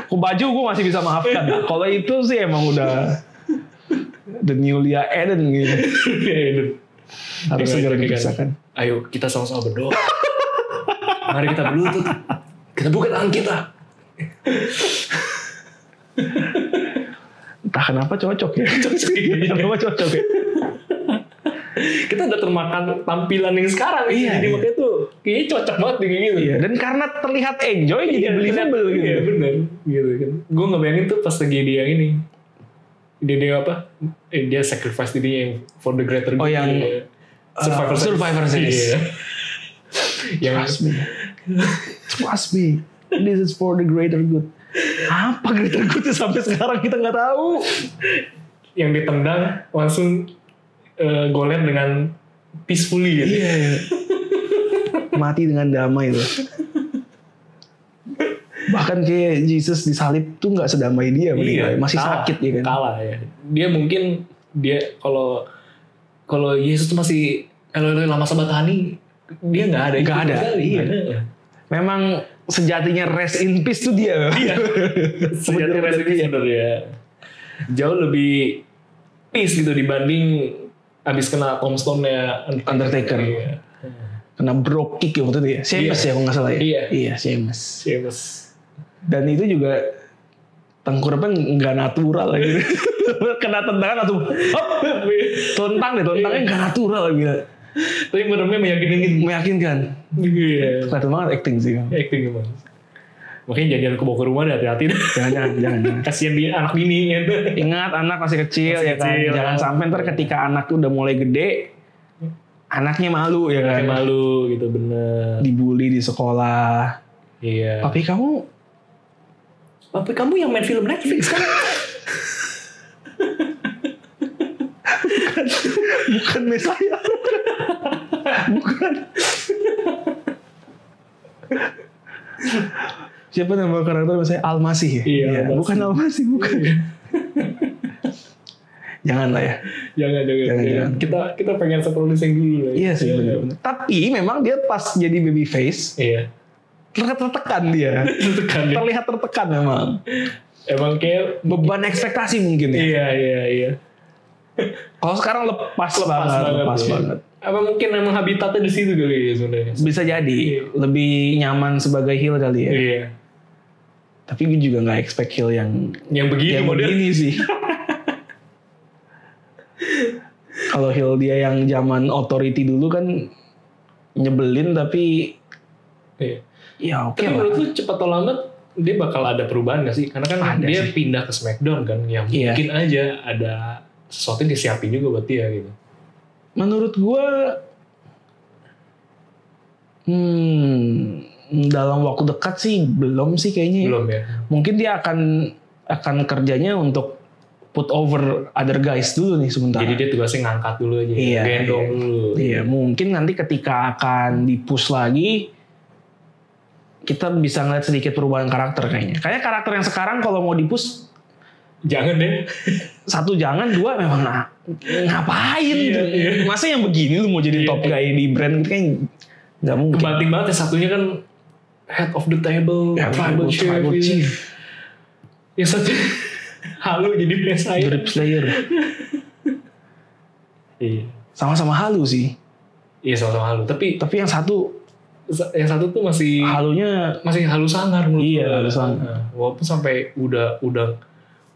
[SPEAKER 1] Ke baju gue masih bisa maafkan. Nah, kalau itu sih emang udah the Julia Eden gitu.
[SPEAKER 2] Iya,
[SPEAKER 1] Harus
[SPEAKER 2] Dia
[SPEAKER 1] segera
[SPEAKER 2] ngajakin kan,
[SPEAKER 1] dipisahkan.
[SPEAKER 2] Ayo kita sama-sama berdoa. Mari kita berlutut. Kita buka tangan kita.
[SPEAKER 1] Entah kenapa cocok ya.
[SPEAKER 2] Cocok
[SPEAKER 1] Entah
[SPEAKER 2] gini.
[SPEAKER 1] kenapa cocok ya.
[SPEAKER 2] kita udah termakan tampilan yang sekarang gitu.
[SPEAKER 1] Iya,
[SPEAKER 2] jadi
[SPEAKER 1] iya.
[SPEAKER 2] makanya tuh kayaknya cocok banget nih kayak gitu
[SPEAKER 1] Iya, dan karena terlihat enjoy jadi
[SPEAKER 2] Iya,
[SPEAKER 1] believable
[SPEAKER 2] ternyata-
[SPEAKER 1] gitu.
[SPEAKER 2] iya bener gitu kan gue ngebayangin tuh pas lagi dia ini dia dia apa eh, dia sacrifice dirinya yang for the greater
[SPEAKER 1] Oh, yang,
[SPEAKER 2] Iya. survivor
[SPEAKER 1] uh, Survivor Series.
[SPEAKER 2] Iya. yang
[SPEAKER 1] Trust me. Trust me. This is for the greater good. Apa greater good sampai sekarang kita nggak tahu.
[SPEAKER 2] yang ditendang langsung eh, goler dengan peacefully gitu
[SPEAKER 1] Iya. iya. Mati dengan damai loh. Bahkan kayak Jesus disalib tuh nggak sedamai dia, menilai. masih
[SPEAKER 2] Iya, kalah,
[SPEAKER 1] sakit ya kan.
[SPEAKER 2] Kalah ya. Dia mungkin dia kalau kalau Yesus tuh masih kalau lama sabat hani dia nggak ada
[SPEAKER 1] Nggak
[SPEAKER 2] Itu
[SPEAKER 1] ada,
[SPEAKER 2] sekali,
[SPEAKER 1] nggak
[SPEAKER 2] Iya.
[SPEAKER 1] Memang sejatinya rest in peace tuh dia.
[SPEAKER 2] Iya. Sejati
[SPEAKER 1] Bener-bener
[SPEAKER 2] resipi
[SPEAKER 1] dia.
[SPEAKER 2] sebenarnya jauh lebih peace gitu dibanding abis kena tombstone-nya
[SPEAKER 1] Undertaker.
[SPEAKER 2] Iya.
[SPEAKER 1] Kena broke kick ya waktu itu ya. Seamus
[SPEAKER 2] Iya.
[SPEAKER 1] ya kalau nggak salah ya.
[SPEAKER 2] Iya.
[SPEAKER 1] Iya, Seamus.
[SPEAKER 2] Seamus.
[SPEAKER 1] dan itu juga tengkurapnya nggak natural gitu. kena tendangan atau hop, telentang deh telentangnya nggak natural gitu
[SPEAKER 2] Tapi bener-bener meyakinkan
[SPEAKER 1] meyakinkan
[SPEAKER 2] Iya.
[SPEAKER 1] kelihatan banget acting sih
[SPEAKER 2] Acting emang. Makanya jangan kebawa ke rumah deh hati-hati deh.
[SPEAKER 1] jangan jangan jangan, jangan.
[SPEAKER 2] Kasian dia anak bini ya.
[SPEAKER 1] ingat anak masih kecil
[SPEAKER 2] Masih
[SPEAKER 1] ya kan
[SPEAKER 2] kecil,
[SPEAKER 1] jangan
[SPEAKER 2] ya.
[SPEAKER 1] sampai ntar ketika anak udah mulai gede anaknya malu ya
[SPEAKER 2] Kayak
[SPEAKER 1] kan
[SPEAKER 2] malu gitu bener.
[SPEAKER 1] dibully di sekolah
[SPEAKER 2] Iya.
[SPEAKER 1] tapi kamu
[SPEAKER 2] Papi kamu yang main film Netflix kan?
[SPEAKER 1] bukan saya bukan siapa nama karakter saya Almasih ya
[SPEAKER 2] Iya, Almasih. Iya.
[SPEAKER 1] bukan Almasih bukan jangan lah ya
[SPEAKER 2] jangan, jangan, jangan,
[SPEAKER 1] jangan.
[SPEAKER 2] Kita kita pengen seprolis yang dulu ya. lah.
[SPEAKER 1] iya sih benar-benar tapi memang dia pas jadi baby face
[SPEAKER 2] Iya.
[SPEAKER 1] terlihat tertekan dia
[SPEAKER 2] Tertekan ya.
[SPEAKER 1] terlihat tertekan memang
[SPEAKER 2] Emang kayak
[SPEAKER 1] beban ekspektasi mungkin ya
[SPEAKER 2] Iya, iya, iya.
[SPEAKER 1] kalau sekarang lepas,
[SPEAKER 2] Pas
[SPEAKER 1] banget,
[SPEAKER 2] banget.
[SPEAKER 1] lepas
[SPEAKER 2] ya.
[SPEAKER 1] banget
[SPEAKER 2] Apa mungkin emang habitatnya di situ kali ya sebenarnya?
[SPEAKER 1] bisa jadi
[SPEAKER 2] Iya.
[SPEAKER 1] lebih nyaman sebagai heel kali ya
[SPEAKER 2] Iya.
[SPEAKER 1] tapi gue juga nggak expect heel yang
[SPEAKER 2] Yang begini
[SPEAKER 1] yang
[SPEAKER 2] model.
[SPEAKER 1] begini sih. Kalau heel dia yang zaman authority dulu kan nyebelin tapi
[SPEAKER 2] Iya.
[SPEAKER 1] ya oke
[SPEAKER 2] Tapi
[SPEAKER 1] lah.
[SPEAKER 2] menurut lu cepat atau lambat dia bakal ada perubahan gak sih? Karena kan
[SPEAKER 1] Ada
[SPEAKER 2] dia pindah ke Smackdown kan, yang
[SPEAKER 1] Iya.
[SPEAKER 2] mungkin aja ada sesuatu yang disiapin juga buat dia gitu.
[SPEAKER 1] Menurut gua hmm dalam waktu dekat sih belum sih kayaknya. ya.
[SPEAKER 2] Belum ya?
[SPEAKER 1] Mungkin dia akan akan kerjanya untuk put over other guys dulu nih sebentar.
[SPEAKER 2] Jadi dia tugasnya ngangkat dulu aja, ya.
[SPEAKER 1] Iya,
[SPEAKER 2] gendong
[SPEAKER 1] iya.
[SPEAKER 2] dulu.
[SPEAKER 1] Iya, mungkin nanti ketika akan dipush lagi kita bisa ngeliat sedikit perubahan karakter kayaknya. Kayaknya karakter yang sekarang kalau mau dipush
[SPEAKER 2] Jangan deh.
[SPEAKER 1] satu jangan dua memang nah, ngapain
[SPEAKER 2] Iya, iya.
[SPEAKER 1] masa yang begini lu mau jadi
[SPEAKER 2] Iya,
[SPEAKER 1] top
[SPEAKER 2] iya.
[SPEAKER 1] guy di brand gitu kan nggak mungkin
[SPEAKER 2] Kebanting banget ya satunya kan head of the table,
[SPEAKER 1] Ya,
[SPEAKER 2] tribal,
[SPEAKER 1] tribal-
[SPEAKER 2] Iya, chief.
[SPEAKER 1] tribal
[SPEAKER 2] gitu.
[SPEAKER 1] chief.
[SPEAKER 2] Yang satu halu jadi PSI.
[SPEAKER 1] Grip Slayer
[SPEAKER 2] Iya.
[SPEAKER 1] sama-sama halu sih
[SPEAKER 2] Iya sama-sama halu. Tapi
[SPEAKER 1] tapi yang satu
[SPEAKER 2] sa- yang satu tuh masih
[SPEAKER 1] halunya
[SPEAKER 2] masih halus sangar menurut
[SPEAKER 1] Iya,
[SPEAKER 2] gua.
[SPEAKER 1] halus sangar.
[SPEAKER 2] Nah, walaupun sampai udah udah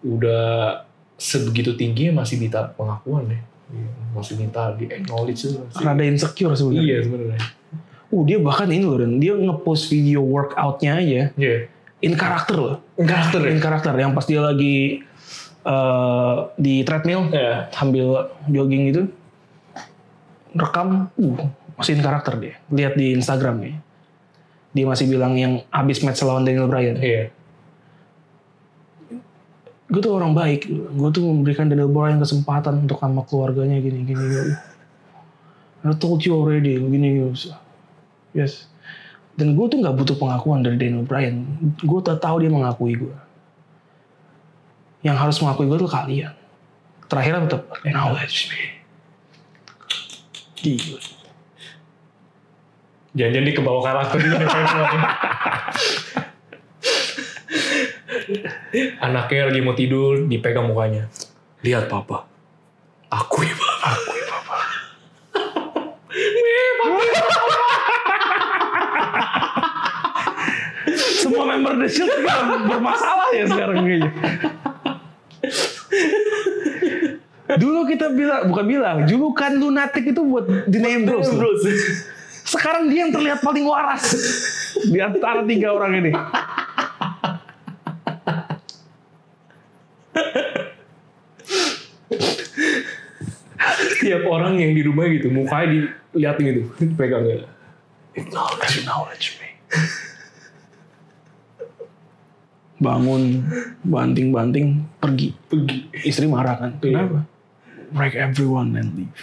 [SPEAKER 2] udah sebegitu tingginya masih minta pengakuan deh Iya, masih minta di acknowledge tuh masih.
[SPEAKER 1] rada insecure sebenarnya.
[SPEAKER 2] iya sebenarnya
[SPEAKER 1] Uh dia bahkan ini loh Ren, dia ngepost video workoutnya aja
[SPEAKER 2] iya
[SPEAKER 1] in karakter loh.
[SPEAKER 2] karakter ya
[SPEAKER 1] in karakter yang pas dia lagi eh, di treadmill
[SPEAKER 2] Iya.
[SPEAKER 1] sambil jogging gitu rekam uh masih in karakter dia lihat di Instagram ya dia masih bilang yang habis match lawan Daniel Bryan
[SPEAKER 2] Iya.
[SPEAKER 1] gue tuh orang baik gue tuh memberikan Daniel Bryan kesempatan untuk sama keluarganya gini gini gini. I told you already gini gini yes dan gue tuh nggak butuh pengakuan dari Daniel Bryan gue udah tahu dia mengakui gue yang harus mengakui gue tuh kalian terakhir tetap acknowledge me gila
[SPEAKER 2] Jangan-jangan dia kebawa karakter juga nih, kayak gua nih. Anaknya lagi mau tidur, dipegang mukanya. Lihat papa. Akui papa. Akui papa. Nih, papa.
[SPEAKER 1] semua member The Shield juga bermasalah ya sekarang kayaknya. Dulu kita bilang, bukan bilang, julukan lunatik itu buat di name Bros.
[SPEAKER 2] Terus, terus.
[SPEAKER 1] Sekarang dia yang terlihat paling waras di antara tiga orang ini.
[SPEAKER 2] Setiap orang yang di rumah gitu, mukanya diliatin gitu. Pegang gitu.
[SPEAKER 1] Acknowledge, acknowledge me. Bangun, banting-banting, pergi.
[SPEAKER 2] Pergi.
[SPEAKER 1] Istri marah kan, kenapa? Break everyone and leave.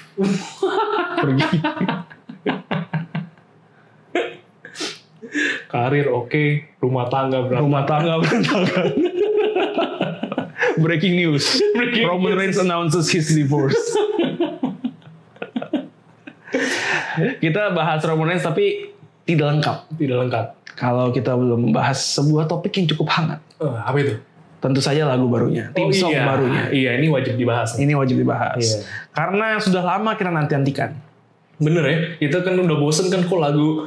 [SPEAKER 2] Pergi. Karir oke, rumah tangga berantakan.
[SPEAKER 1] rumah tangga berantakan. Breaking news.
[SPEAKER 2] Breaking
[SPEAKER 1] Roman
[SPEAKER 2] news.
[SPEAKER 1] Reigns announces his divorce. kita bahas Roman Reigns tapi tidak lengkap.
[SPEAKER 2] Tidak lengkap.
[SPEAKER 1] Kalau kita belum membahas sebuah topik yang cukup hangat.
[SPEAKER 2] Eh, apa itu?
[SPEAKER 1] Tentu saja lagu barunya. Tim song
[SPEAKER 2] iya.
[SPEAKER 1] barunya.
[SPEAKER 2] Iya, ini wajib dibahas. nih.
[SPEAKER 1] Ini wajib dibahas.
[SPEAKER 2] Iya.
[SPEAKER 1] Karena sudah lama kita nanti-nantikan.
[SPEAKER 2] Bener ya, kita kan udah bosen kan kok lagu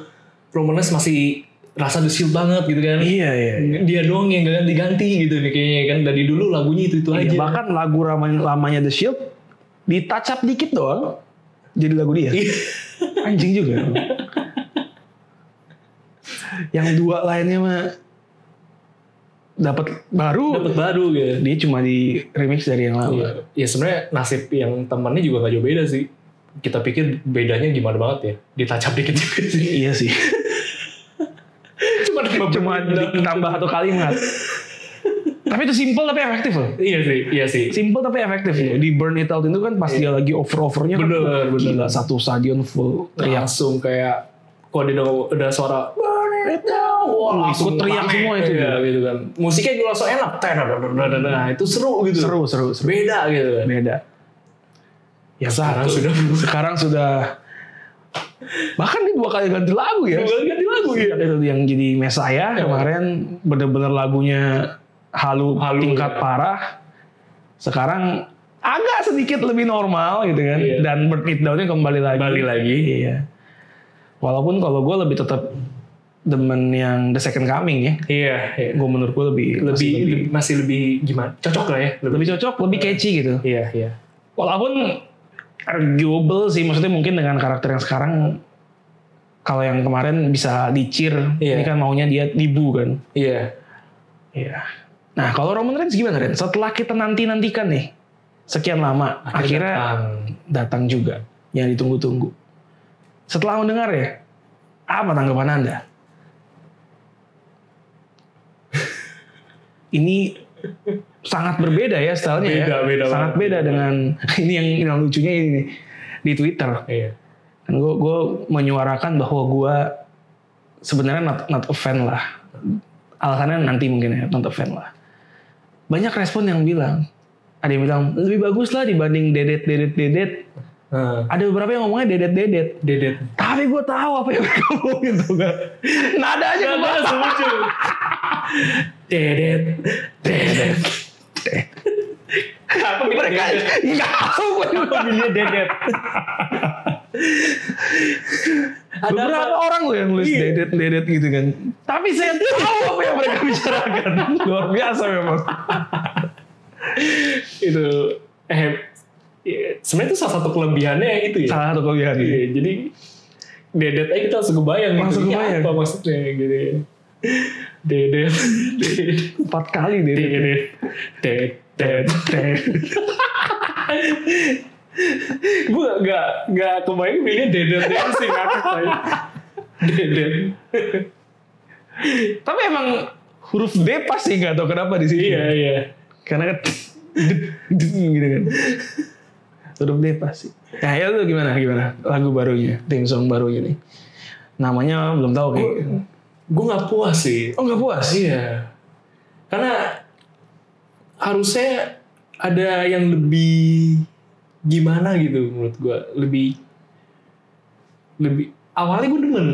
[SPEAKER 2] Romanes masih rasa The Shield banget gitu kan.
[SPEAKER 1] Iya, iya.
[SPEAKER 2] Dia doang yang ganti diganti gitu nih kayaknya kan. Dari dulu lagunya itu-itu aja.
[SPEAKER 1] Iya, bahkan lagu ramanya, lamanya The Shield di touch up dikit doang jadi lagu dia.
[SPEAKER 2] Iya.
[SPEAKER 1] Anjing juga. Yang dua lainnya mah dapat baru,
[SPEAKER 2] Dapat baru gitu.
[SPEAKER 1] dia cuma di remix dari yang lama.
[SPEAKER 2] Iya. Ya sebenarnya nasib yang temennya juga gak jauh beda sih. Kita pikir bedanya gimana banget ya. Ditacap dikit juga sih.
[SPEAKER 1] Iya sih.
[SPEAKER 2] Cuma
[SPEAKER 1] Cuma ditambah satu kalimat. tapi itu simple tapi efektif loh.
[SPEAKER 2] Iya sih, iya sih.
[SPEAKER 1] Simple tapi efektif loh. Di Burn It Out itu kan pas dia lagi over-overnya kan.
[SPEAKER 2] Iya. Bener, bener.
[SPEAKER 1] Gila, satu stadion full teriak.
[SPEAKER 2] Langsung kayak kalau dia udah- udah suara burn it down, wah,
[SPEAKER 1] Wah,
[SPEAKER 2] Oh, langsung
[SPEAKER 1] ikut teriak
[SPEAKER 2] rame.
[SPEAKER 1] semua itu. ya.
[SPEAKER 2] Iya, gitu kan. Musiknya juga langsung enak. Nah, itu seru gitu.
[SPEAKER 1] Seru, seru, seru.
[SPEAKER 2] Beda gitu kan.
[SPEAKER 1] beda. Ya
[SPEAKER 2] Sekarang
[SPEAKER 1] satu.
[SPEAKER 2] sudah berubah.
[SPEAKER 1] sekarang sudah bahkan dia dua kali ganti lagu ya.
[SPEAKER 2] Dua kali Iya. ganti lagu, iya.
[SPEAKER 1] Itu yang jadi Mesaya kemarin bener-bener lagunya halu,
[SPEAKER 2] Halu,
[SPEAKER 1] tingkat
[SPEAKER 2] iya.
[SPEAKER 1] parah. Sekarang agak sedikit lebih normal gitu kan
[SPEAKER 2] Iya.
[SPEAKER 1] dan Burn It Down-nya kembali lagi.
[SPEAKER 2] Kembali lagi.
[SPEAKER 1] Iya. Walaupun kalau gue lebih tetap demen yang The Second Coming ya.
[SPEAKER 2] Iya, iya.
[SPEAKER 1] Gue menurut gue lebih
[SPEAKER 2] Lebih,
[SPEAKER 1] masih lebih,
[SPEAKER 2] lebih- masih lebih gimana? Cocok lah ya. Lebih.
[SPEAKER 1] lebih cocok, lebih catchy gitu.
[SPEAKER 2] Iya, iya.
[SPEAKER 1] Walaupun arguable sih, maksudnya mungkin dengan karakter yang sekarang, kalau yang kemarin bisa dicir,
[SPEAKER 2] Iya.
[SPEAKER 1] ini kan maunya dia dibu kan.
[SPEAKER 2] Iya.
[SPEAKER 1] Iya. Nah kalau Roman Reigns gimana Ren? Setelah kita nanti-nantikan nih, sekian lama, akhirnya,
[SPEAKER 2] datang.
[SPEAKER 1] datang juga yang ditunggu-tunggu. Setelah mendengar ya, apa tanggapan Anda? ini sangat berbeda ya stylenya ya.
[SPEAKER 2] Beda, beda
[SPEAKER 1] sangat
[SPEAKER 2] banget.
[SPEAKER 1] beda dengan ini yang, yang lucunya ini nih, di Twitter.
[SPEAKER 2] Iya.
[SPEAKER 1] Kan gue menyuarakan bahwa gue sebenarnya not, not a fan lah. Alasannya nanti mungkin ya, not a fan lah. Banyak respon yang bilang, ada yang bilang lebih bagus lah dibanding dedet dedet dedet.
[SPEAKER 2] Nah,
[SPEAKER 1] Ada beberapa yang ngomongnya dedet dedet.
[SPEAKER 2] Dedet.
[SPEAKER 1] Tapi gue tahu apa yang mereka ngomongin tuh gak. Nada aja gue
[SPEAKER 2] Bahasa lucu. Dedet. Dedet. Apa
[SPEAKER 1] Mereka nggak tahu gue juga.
[SPEAKER 2] Pilih dedet. Ada
[SPEAKER 1] Beberapa
[SPEAKER 2] apa?
[SPEAKER 1] orang loh yang nulis
[SPEAKER 2] Iya.
[SPEAKER 1] dedet dedet gitu kan. Tapi saya tahu apa yang mereka bicarakan. Luar biasa memang.
[SPEAKER 2] itu eh ya, sebenarnya itu salah satu kelebihannya yang itu ya.
[SPEAKER 1] Salah satu kelebihan.
[SPEAKER 2] Iya, jadi dedet aja kita langsung kebayang gitu.
[SPEAKER 1] Langsung
[SPEAKER 2] Ini
[SPEAKER 1] kebayang.
[SPEAKER 2] apa maksudnya gitu. ya. Dedet, dedet,
[SPEAKER 1] Empat kali dedet.
[SPEAKER 2] dedet, dedet, dedet.
[SPEAKER 1] Dedet.
[SPEAKER 2] Gue gak, gak kebayang milihnya dedet dedet sih ngakak aja. Dedet.
[SPEAKER 1] Tapi emang huruf D pasti nggak tahu kenapa di sini.
[SPEAKER 2] Iya iya.
[SPEAKER 1] Karena kan gitu kan. Huruf D pasti. Nah, ya lu gimana gimana lagu barunya, theme song barunya nih. Namanya belum tahu kayak.
[SPEAKER 2] Gue nggak puas sih.
[SPEAKER 1] Oh nggak puas?
[SPEAKER 2] Iya. Karena harusnya ada yang lebih gimana gitu menurut gue lebih lebih awalnya gue demen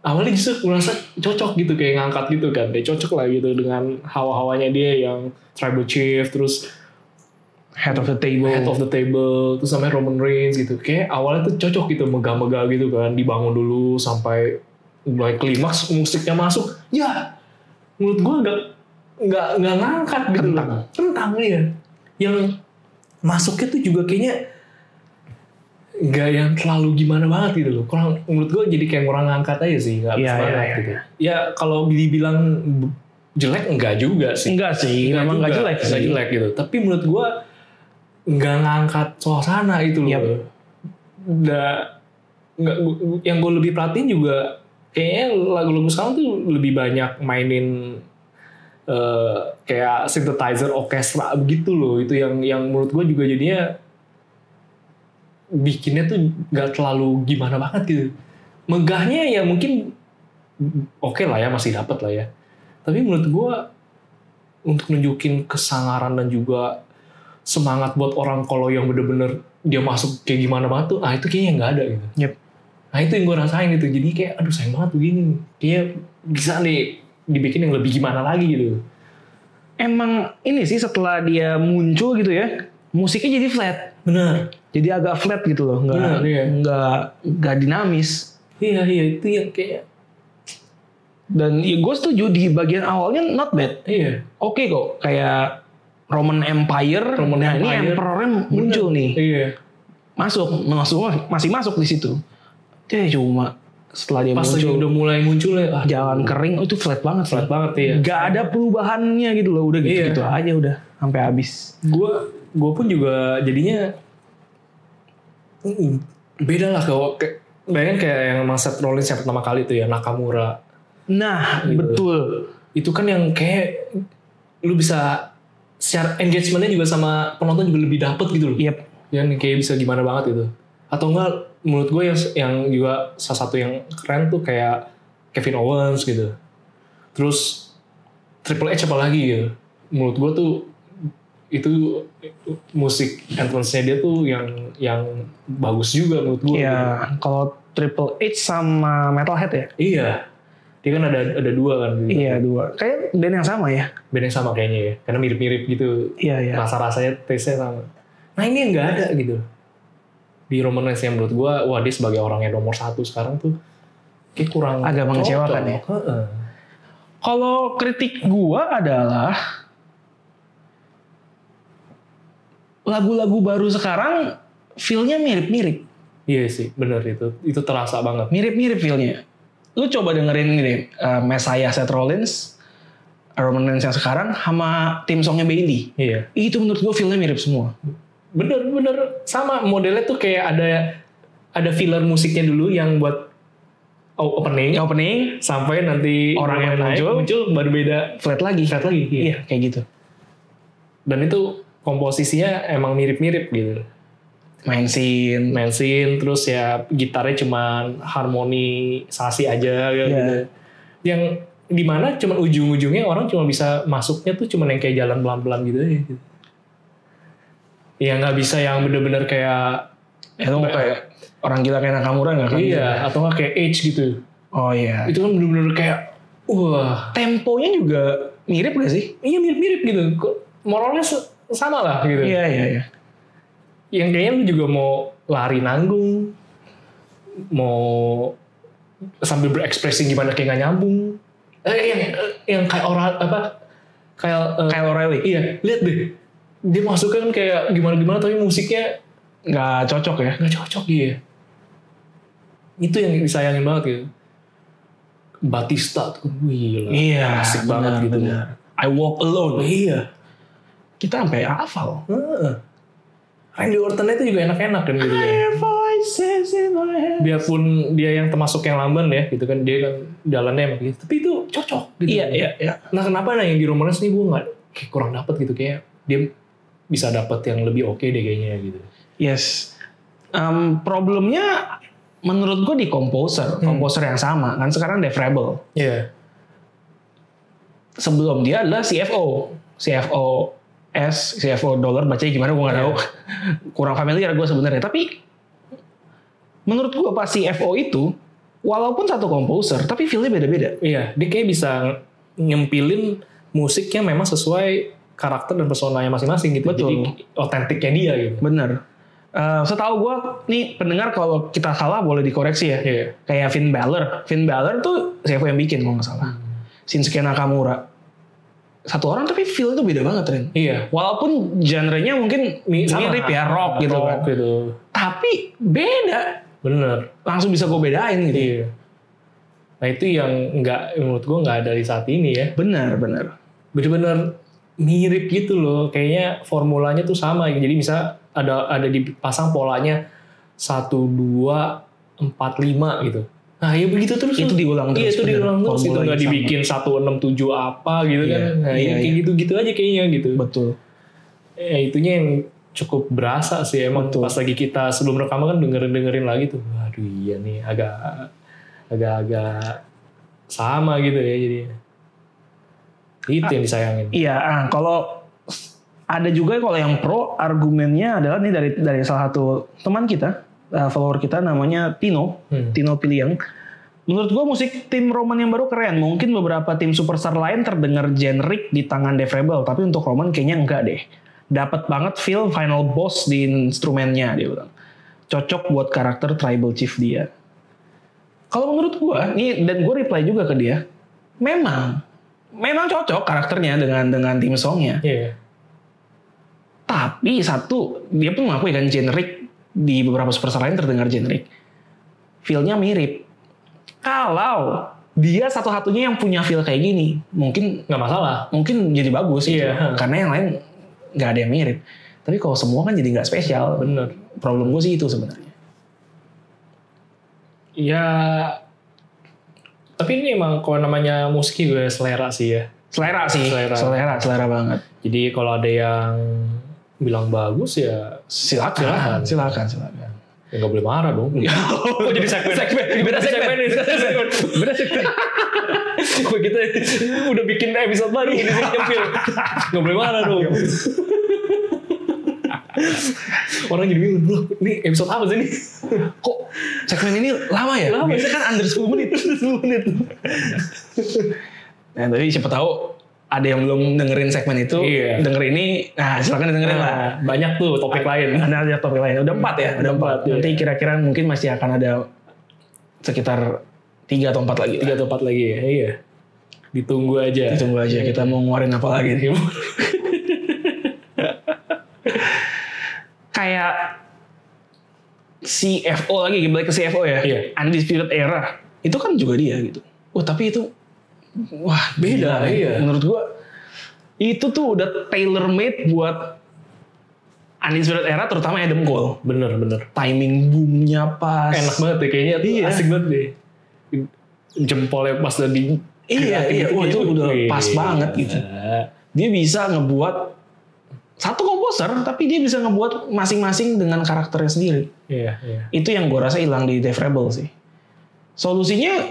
[SPEAKER 2] awalnya justru merasa cocok gitu kayak ngangkat gitu kan kayak cocok lah gitu dengan hawa-hawanya dia yang tribal chief terus
[SPEAKER 1] Head of the table.
[SPEAKER 2] head of the table terus sampai Roman Reigns gitu kayak awalnya tuh cocok gitu megah-megah gitu kan dibangun dulu sampai mulai klimaks musiknya masuk ya menurut gua agak nggak nggak ngangkat gitu
[SPEAKER 1] Kentang.
[SPEAKER 2] loh kentang ya yang masuknya tuh juga kayaknya nggak yang terlalu gimana banget gitu loh kurang menurut gua jadi kayak kurang ngangkat aja sih nggak
[SPEAKER 1] Iya,
[SPEAKER 2] pas
[SPEAKER 1] iya,
[SPEAKER 2] banget
[SPEAKER 1] iya,
[SPEAKER 2] gitu ya kalau dibilang b- jelek enggak juga sih
[SPEAKER 1] Enggak sih, memang nggak
[SPEAKER 2] juga,
[SPEAKER 1] jelek
[SPEAKER 2] nggak
[SPEAKER 1] sih.
[SPEAKER 2] jelek gitu tapi menurut gua nggak ngangkat suasana itu loh
[SPEAKER 1] Yap.
[SPEAKER 2] nggak nggak gu- gu- yang gue lebih perhatiin juga kayaknya lagu-lagu sekarang tuh lebih banyak mainin eh, kayak synthesizer orkestra begitu loh itu yang yang menurut gue juga jadinya bikinnya tuh nggak terlalu gimana banget gitu megahnya ya mungkin oke lah ya masih dapat lah ya tapi menurut gue untuk nunjukin kesangaran dan juga semangat buat orang kalau yang bener-bener dia masuk kayak gimana banget tuh ah itu kayaknya nggak ada gitu
[SPEAKER 1] Yep.
[SPEAKER 2] nah itu yang gue rasain gitu jadi kayak aduh sayang banget begini kayaknya bisa nih dibikin yang lebih gimana lagi gitu
[SPEAKER 1] Emang ini sih setelah dia muncul gitu ya, musiknya jadi flat.
[SPEAKER 2] benar
[SPEAKER 1] Jadi agak flat gitu loh,
[SPEAKER 2] Benar,
[SPEAKER 1] nggak
[SPEAKER 2] iya.
[SPEAKER 1] nggak nggak dinamis.
[SPEAKER 2] iya iya itu yang kayak
[SPEAKER 1] Dan ya gue setuju di bagian awalnya not bad.
[SPEAKER 2] iya
[SPEAKER 1] Oke kok, kayak Roman Empire.
[SPEAKER 2] Roman
[SPEAKER 1] nah ini
[SPEAKER 2] Empire.
[SPEAKER 1] Emperornya muncul nih.
[SPEAKER 2] iya
[SPEAKER 1] Masuk, masuk, masih masuk di situ. Ya cuma setelah dia
[SPEAKER 2] pas lagi
[SPEAKER 1] muncul,
[SPEAKER 2] udah mulai muncul ya ah,
[SPEAKER 1] jalan kering, oh itu flat banget.
[SPEAKER 2] flat banget Iya. ya
[SPEAKER 1] Gak ada perubahannya gitu loh, udah gitu-gitu aja udah sampai habis.
[SPEAKER 2] gue gue pun juga jadinya mm, beda lah kalau kayak bayangin kayak yang emang Seth Rollins yang pertama kali tuh ya Nakamura
[SPEAKER 1] Nah,
[SPEAKER 2] Gitu.
[SPEAKER 1] betul.
[SPEAKER 2] itu kan yang kayak lu bisa share engagementnya juga sama penonton juga lebih dapet gitu loh
[SPEAKER 1] Yep.
[SPEAKER 2] yang kayak bisa gimana banget gitu atau enggak menurut gue yang yang juga salah satu yang keren tuh kayak Kevin Owens gitu terus Triple H apa lagi gitu menurut gue tuh itu musik entrance-nya dia tuh yang yang bagus juga menurut gitu. gue
[SPEAKER 1] Iya, kalau Triple H sama Metalhead ya?
[SPEAKER 2] iya dia kan ada ada dua kan gitu.
[SPEAKER 1] Iya, dua. Kayak band yang sama ya?
[SPEAKER 2] band yang sama kayaknya ya karena mirip-mirip gitu
[SPEAKER 1] Iya, iya.
[SPEAKER 2] rasa-rasanya taste-nya sama. Nah ini yang nggak ada gitu. Di Roman Reigns yang menurut gue, wah dia sebagai orang yang nomor satu sekarang tuh kayak kurang
[SPEAKER 1] Agak mengecewakan
[SPEAKER 2] cocok.
[SPEAKER 1] ya.
[SPEAKER 2] Heeh.
[SPEAKER 1] Kalau kritik gua adalah lagu-lagu baru sekarang feel-nya mirip-mirip.
[SPEAKER 2] Iya sih, bener itu. Itu terasa banget.
[SPEAKER 1] Mirip-mirip feel-nya. Lu coba dengerin ini deh, eh, Messiah Seth Rollins, Roman Reigns yang sekarang, sama tim songnya Bailey.
[SPEAKER 2] Iya.
[SPEAKER 1] Itu menurut gua feel-nya mirip semua.
[SPEAKER 2] Bener-bener sama modelnya tuh kayak ada ada filler musiknya dulu yang buat o- opening
[SPEAKER 1] Yang opening,
[SPEAKER 2] sampai nanti
[SPEAKER 1] Orang yang
[SPEAKER 2] naik,
[SPEAKER 1] muncul.
[SPEAKER 2] muncul baru beda
[SPEAKER 1] flat lagi.
[SPEAKER 2] flat lagi. Iya.
[SPEAKER 1] Iya, kayak gitu.
[SPEAKER 2] Dan itu komposisinya emang mirip-mirip gitu.
[SPEAKER 1] Main scene,
[SPEAKER 2] mensin terus ya gitarnya cuman harmonisasi aja gitu.
[SPEAKER 1] Iya.
[SPEAKER 2] Yang dimana cuman ujung-ujungnya orang cuma bisa masuknya tuh cuman yang kayak jalan pelan-pelan gitu aja. Gitu. Ya nggak bisa yang bener-bener kayak
[SPEAKER 1] Ya lu mau kayak orang gila kayak Nakamura gak kan?
[SPEAKER 2] iya atau nggak kayak Edge gitu.
[SPEAKER 1] Oh iya.
[SPEAKER 2] Itu kan bener-bener kayak wah
[SPEAKER 1] Temponya juga mirip gak sih?
[SPEAKER 2] iya mirip-mirip gitu. Kok moralnya se- sama lah gitu.
[SPEAKER 1] Iya iya iya.
[SPEAKER 2] yang kayaknya lu juga mau lari nanggung mau sambil berekspresi gimana kayak gak nyambung eh, yang eh, yang kayak orang apa kayak eh,
[SPEAKER 1] Kyle O'Reilly.
[SPEAKER 2] iya lihat deh dia masukkan kayak gimana gimana tapi musiknya
[SPEAKER 1] Gak cocok ya.
[SPEAKER 2] nggak cocok dia itu yang disayangin banget gitu Batista tuh wih gila asik banget
[SPEAKER 1] benar,
[SPEAKER 2] gitu
[SPEAKER 1] benar. Iya, I walk alone.
[SPEAKER 2] iya
[SPEAKER 1] Kita sampai hafal.
[SPEAKER 2] Heeh. Randy Orton itu juga enak-enak kan gitu ya.
[SPEAKER 1] Your voice Voices in my head.
[SPEAKER 2] biarpun dia yang termasuk yang lamban ya gitu kan dia kan jalannya emang gitu tapi itu cocok gitu
[SPEAKER 1] Iya, iya, iya.
[SPEAKER 2] nah kenapa nah yang di Romance nih gue nggak kayak kurang dapet gitu kayak dia bisa dapat yang lebih oke deh kayaknya gitu
[SPEAKER 1] Yes. Em, problemnya menurut gue di komposer,
[SPEAKER 2] Hmm.
[SPEAKER 1] komposer yang sama kan sekarang Def Rebel.
[SPEAKER 2] iya
[SPEAKER 1] Sebelum dia adalah CFO, CFO S, CFO dollar bacanya gimana gue nggak tahu. Kurang familiar gue sebenarnya. Tapi menurut gue pas CFO itu walaupun satu komposer tapi feel-nya beda-beda.
[SPEAKER 2] iya dia kayak bisa nyempilin musik yang memang sesuai karakter dan personanya masing-masing gitu
[SPEAKER 1] Betul.
[SPEAKER 2] jadi otentiknya dia gitu
[SPEAKER 1] Bener. Eh, setahu gue nih pendengar kalau kita salah boleh dikoreksi ya.
[SPEAKER 2] iya
[SPEAKER 1] Kayak Finn Balor, Finn Balor tuh CFO yang bikin kalau nggak salah. Shinsuke Nakamura. Satu orang tapi feel itu beda banget Ren.
[SPEAKER 2] iya
[SPEAKER 1] Walaupun genre-nya mungkin
[SPEAKER 2] Mi- sama.
[SPEAKER 1] mirip ya rock gitu kan.
[SPEAKER 2] Rock gitu
[SPEAKER 1] Tapi beda.
[SPEAKER 2] bener
[SPEAKER 1] Langsung bisa gue bedain gitu.
[SPEAKER 2] Iya. Nah itu yang nggak menurut gue nggak ada di saat ini ya.
[SPEAKER 1] Bener, bener.
[SPEAKER 2] Bener-bener mirip gitu loh. Kayaknya formulanya tuh sama. gitu. Jadi bisa ada ada dipasang polanya satu dua empat lima gitu. Nah ya begitu terus.
[SPEAKER 1] Itu
[SPEAKER 2] tuh.
[SPEAKER 1] diulang
[SPEAKER 2] Iya
[SPEAKER 1] terus.
[SPEAKER 2] itu
[SPEAKER 1] bener.
[SPEAKER 2] diulang terus itu
[SPEAKER 1] Formula
[SPEAKER 2] nggak
[SPEAKER 1] yang sama.
[SPEAKER 2] dibikin satu enam tujuh apa gitu
[SPEAKER 1] Iya,
[SPEAKER 2] kan.
[SPEAKER 1] iya,
[SPEAKER 2] Nah, ya kayak
[SPEAKER 1] iya.
[SPEAKER 2] gitu-gitu aja kayaknya gitu.
[SPEAKER 1] Betul.
[SPEAKER 2] Ya itunya yang cukup berasa sih emang
[SPEAKER 1] Betul.
[SPEAKER 2] pas lagi kita sebelum rekaman kan dengerin dengerin lagi tuh aduh iya nih agak agak agak sama gitu ya jadi itu yang disayangin
[SPEAKER 1] Iya, ah, kalau ada juga kalau yang pro argumennya adalah nih dari dari salah satu teman kita, eh, follower kita namanya Tino,
[SPEAKER 2] Hmm.
[SPEAKER 1] Tino Piliang. Menurut gua musik tim Roman yang baru keren. Mungkin beberapa tim superstar lain terdengar generik di tangan Def Rebel, tapi untuk Roman kayaknya enggak deh. Dapat banget feel final boss di instrumennya dia bilang. Cocok buat karakter tribal chief dia. Kalau menurut gua, nih dan gue reply juga ke dia, memang memang cocok karakternya dengan dengan tim songnya.
[SPEAKER 2] Iya.
[SPEAKER 1] Tapi satu, dia pun mengakui kan generik di beberapa superstar lain terdengar generik. Feel-nya mirip. Kalau dia satu-satunya yang punya feel kayak gini, mungkin
[SPEAKER 2] nggak masalah
[SPEAKER 1] mungkin jadi bagus gitu.
[SPEAKER 2] Iya.
[SPEAKER 1] Karena yang lain nggak ada yang mirip. Tapi kalau semua kan jadi nggak spesial.
[SPEAKER 2] bener
[SPEAKER 1] Problem gue sih itu sebenarnya.
[SPEAKER 2] ya tapi ini emang kalau namanya musik juga selera sih ya
[SPEAKER 1] Selera sih,
[SPEAKER 2] Selera.
[SPEAKER 1] selera, selera banget.
[SPEAKER 2] jadi kalau ada yang bilang bagus ya
[SPEAKER 1] Silakan, silakan, silakan.
[SPEAKER 2] ya nggak boleh marah dong Kok jadi segmen? Beda segmen. nih. Beda segmen. Kok kita udah bikin episode baru ini sih nyempil. Nggak boleh marah dong. Orang jadi bingung, "Loh, ini episode apa sih ini?
[SPEAKER 1] Kok segmen ini lama ya?
[SPEAKER 2] Lama.
[SPEAKER 1] Biasanya kan under 10 menit.
[SPEAKER 2] 10 menit.
[SPEAKER 1] Nah, tapi siapa tahu ada yang belum dengerin segmen itu,
[SPEAKER 2] Iya.
[SPEAKER 1] denger ini, nah silakan dengerin lah.
[SPEAKER 2] Nah, banyak tuh topik lain.
[SPEAKER 1] Ada ada topik lain. Udah empat ya, udah
[SPEAKER 2] Udah
[SPEAKER 1] empat.
[SPEAKER 2] empat,
[SPEAKER 1] Nanti
[SPEAKER 2] iya.
[SPEAKER 1] kira-kira mungkin masih akan ada sekitar tiga atau empat lagi.
[SPEAKER 2] Tiga atau empat lagi ya. Iya. Ditunggu aja. Iya.
[SPEAKER 1] Kita Tunggu aja kita mau ngeluarin apa lagi. nih. Kayak CFO lagi balik ke CFO ya.
[SPEAKER 2] Iya.
[SPEAKER 1] Undisputed Era. Itu kan juga dia gitu. Wah, tapi itu wah
[SPEAKER 2] Beda,
[SPEAKER 1] gila,
[SPEAKER 2] iya.
[SPEAKER 1] Menurut gua itu tuh udah tailor made buat Undisputed Era terutama Adam Cole.
[SPEAKER 2] Bener, bener.
[SPEAKER 1] Timing boomnya pas.
[SPEAKER 2] Enak banget ya kayaknya.
[SPEAKER 1] Iya.
[SPEAKER 2] Asik banget deh. Jempolnya pas gitu tadi.
[SPEAKER 1] Iya, iya. Wah, itu udah pas
[SPEAKER 2] iya,
[SPEAKER 1] banget gitu. dia bisa ngebuat satu komposer tapi dia bisa ngebuat masing-masing dengan karakternya sendiri
[SPEAKER 2] Iya, iya.
[SPEAKER 1] itu yang gue rasa hilang di Dev Rebel sih solusinya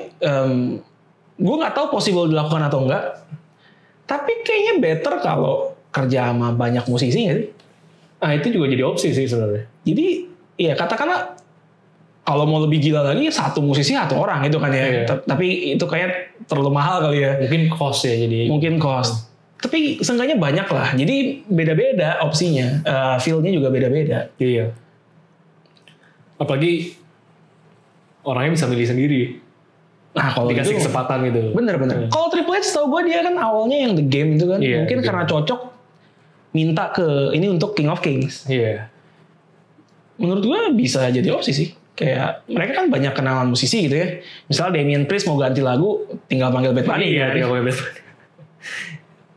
[SPEAKER 1] gue nggak tahu possible dilakukan atau enggak tapi kayaknya better kalau kerja sama banyak musisi nggak sih
[SPEAKER 2] Ah itu juga jadi opsi sih sebenarnya.
[SPEAKER 1] jadi ya katakanlah kalau mau lebih gila lagi satu musisi satu orang gitu kan ya
[SPEAKER 2] Iya.
[SPEAKER 1] Ta- tapi itu kayak terlalu mahal kali ya
[SPEAKER 2] Mungkin cost ya jadi.
[SPEAKER 1] mungkin cost tapi seenggaknya banyak lah jadi beda-beda opsinya Eh, feel-nya juga beda-beda
[SPEAKER 2] Iya. Apalagi orangnya bisa milih sendiri.
[SPEAKER 1] nah kalau
[SPEAKER 2] Dikasih
[SPEAKER 1] gitu
[SPEAKER 2] kesempatan gitu.
[SPEAKER 1] bener-bener kalau Triple H tau gue dia kan awalnya yang The Game itu kan
[SPEAKER 2] Iya,
[SPEAKER 1] mungkin
[SPEAKER 2] The Game.
[SPEAKER 1] karena cocok minta ke ini untuk King of Kings
[SPEAKER 2] Iya.
[SPEAKER 1] menurut gue bisa jadi opsi sih kayak mereka kan banyak kenalan musisi gitu ya misal Damien Priest mau ganti lagu tinggal panggil Bad Bunny
[SPEAKER 2] iya,
[SPEAKER 1] kan.
[SPEAKER 2] dia pakai Bad Bunny.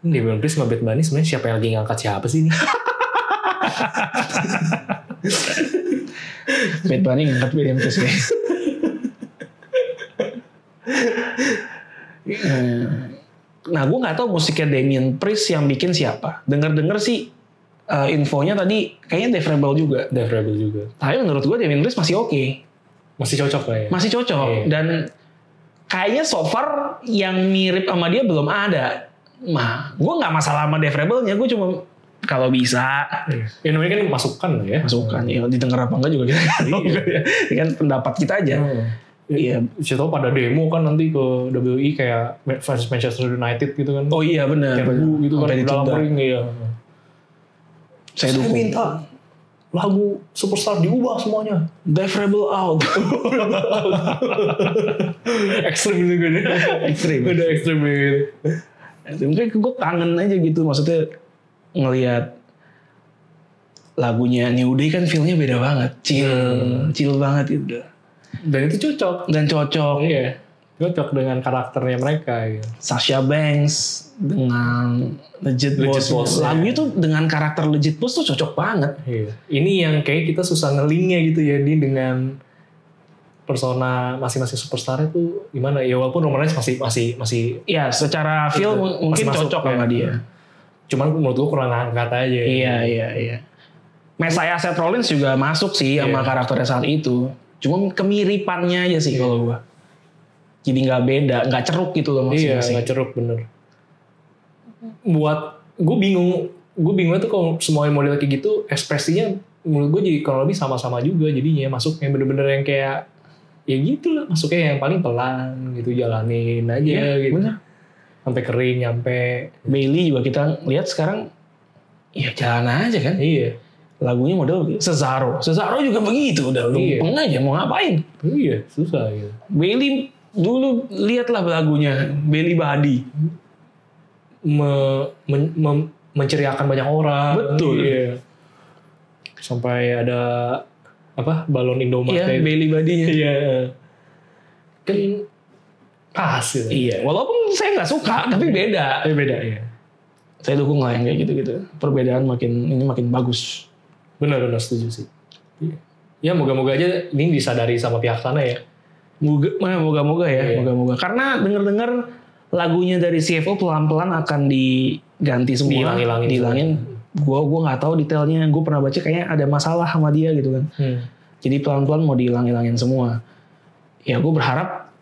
[SPEAKER 2] Ini Bang Chris sama Bad Bunny sebenarnya siapa yang lagi ngangkat siapa sih ini?
[SPEAKER 1] Matt Bunny ngangkat William Kiss guys. Eh, nah gue nggak tahu musiknya Damien Priest yang bikin siapa. Dengar-dengar sih eh, infonya tadi kayaknya Dave Rebel juga.
[SPEAKER 2] Dev Rebel juga.
[SPEAKER 1] Tapi menurut gue Damien Priest masih oke,
[SPEAKER 2] Masih cocok lah ya.
[SPEAKER 1] masih cocok
[SPEAKER 2] Iya.
[SPEAKER 1] dan kayaknya so far yang mirip sama dia belum ada. Mah, gue nggak masalah sama Dave Rebelnya, gue cuma kalau bisa
[SPEAKER 2] Iya. Ya namanya kan masukan lah ya.
[SPEAKER 1] masukan ya didengar apa enggak juga kita nggak tahu
[SPEAKER 2] Iya.
[SPEAKER 1] kan ya. Ini kan pendapat kita aja
[SPEAKER 2] Hmm.
[SPEAKER 1] Iya.
[SPEAKER 2] Siapa tahu pada demo kan nanti ke WI kayak fans Manchester United gitu kan.
[SPEAKER 1] oh iya benar
[SPEAKER 2] Kayak
[SPEAKER 1] benar.
[SPEAKER 2] bu gitu kan
[SPEAKER 1] Sampai
[SPEAKER 2] di dalam
[SPEAKER 1] ditunda.
[SPEAKER 2] ring ya.
[SPEAKER 1] saya dukung
[SPEAKER 2] lagu superstar diubah semuanya.
[SPEAKER 1] Dave Rebel out
[SPEAKER 2] ekstrim gitu kan.
[SPEAKER 1] Ekstrim.
[SPEAKER 2] Udah ekstrim gitu.
[SPEAKER 1] Ya, mungkin gue kangen aja gitu maksudnya ngelihat lagunya New Day kan feelnya beda banget chill
[SPEAKER 2] Hmm.
[SPEAKER 1] chill banget gitu
[SPEAKER 2] Dan itu cocok.
[SPEAKER 1] dan cocok
[SPEAKER 2] Iya. Cocok dengan karakternya mereka gitu.
[SPEAKER 1] Sasha Banks dengan Legit,
[SPEAKER 2] Legit
[SPEAKER 1] Boss,
[SPEAKER 2] Boss, ya.
[SPEAKER 1] lagunya tuh dengan karakter Legit Boss tuh cocok banget
[SPEAKER 2] Iya. Ini yang kayak kita susah ngelingnya gitu ya di dengan persona masing-masing superstar itu gimana ya walaupun Roman Reigns masih masih masih
[SPEAKER 1] ya secara feel
[SPEAKER 2] Itu.
[SPEAKER 1] mu- mungkin
[SPEAKER 2] Masih masuk,
[SPEAKER 1] cocok
[SPEAKER 2] ya.
[SPEAKER 1] sama dia
[SPEAKER 2] cuman menurut gua kurang angkat aja.
[SPEAKER 1] Iya iya iya. Messiah Seth Rollins juga masuk sih sama
[SPEAKER 2] Iya.
[SPEAKER 1] karakternya saat itu. Cuma kemiripannya aja sih kalau gua. Jadi nggak beda, nggak ceruk gitu loh
[SPEAKER 2] Iya,
[SPEAKER 1] masing-masing.
[SPEAKER 2] nggak ceruk bener. Buat gue bingung, gue bingungnya tuh kalau semua model kayak gitu ekspresinya menurut gue jadi kalau lebih sama-sama juga jadinya masuk yang bener-bener yang kayak ya gitu lah masuknya yang paling pelan gitu jalanin aja
[SPEAKER 1] Iya,
[SPEAKER 2] gitu
[SPEAKER 1] bener.
[SPEAKER 2] sampai kering nyampe
[SPEAKER 1] Bailey juga kita lihat sekarang ya jalan aja kan.
[SPEAKER 2] iya
[SPEAKER 1] Lagunya model gitu. Cesaro. Cesaro juga begitu udah
[SPEAKER 2] Iya.
[SPEAKER 1] lumpeng aja mau ngapain.
[SPEAKER 2] iya susah gitu
[SPEAKER 1] Bailey dulu lihatlah lagunya Bailey Body.
[SPEAKER 2] Me- men- mem- menceriakan banyak orang
[SPEAKER 1] Betul.
[SPEAKER 2] iya. sampai ada apa balon Indomaret
[SPEAKER 1] Iya,
[SPEAKER 2] itu.
[SPEAKER 1] Bailey Body-nya.
[SPEAKER 2] Iya. Kan pas gitu.
[SPEAKER 1] Iya, walaupun saya nggak suka tapi beda.
[SPEAKER 2] Tapi beda ya.
[SPEAKER 1] saya dukung lah yang kayak gitu-gitu. Perbedaan makin ini makin bagus.
[SPEAKER 2] Benar-benar setuju sih. Iya. Ya moga-moga aja ini disadari sama pihak sana ya.
[SPEAKER 1] Moga, mana moga-moga ya,
[SPEAKER 2] Iya.
[SPEAKER 1] moga-moga. Karena denger-dengar lagunya dari CFO pelan-pelan akan diganti semua,
[SPEAKER 2] Dihilang-hilangin.
[SPEAKER 1] dihilangin. Gua gua nggak tahu detailnya. Gue pernah baca kayaknya ada masalah sama dia gitu kan. Jadi pelan-pelan mau dihilang-hilangin semua. Ya gue berharap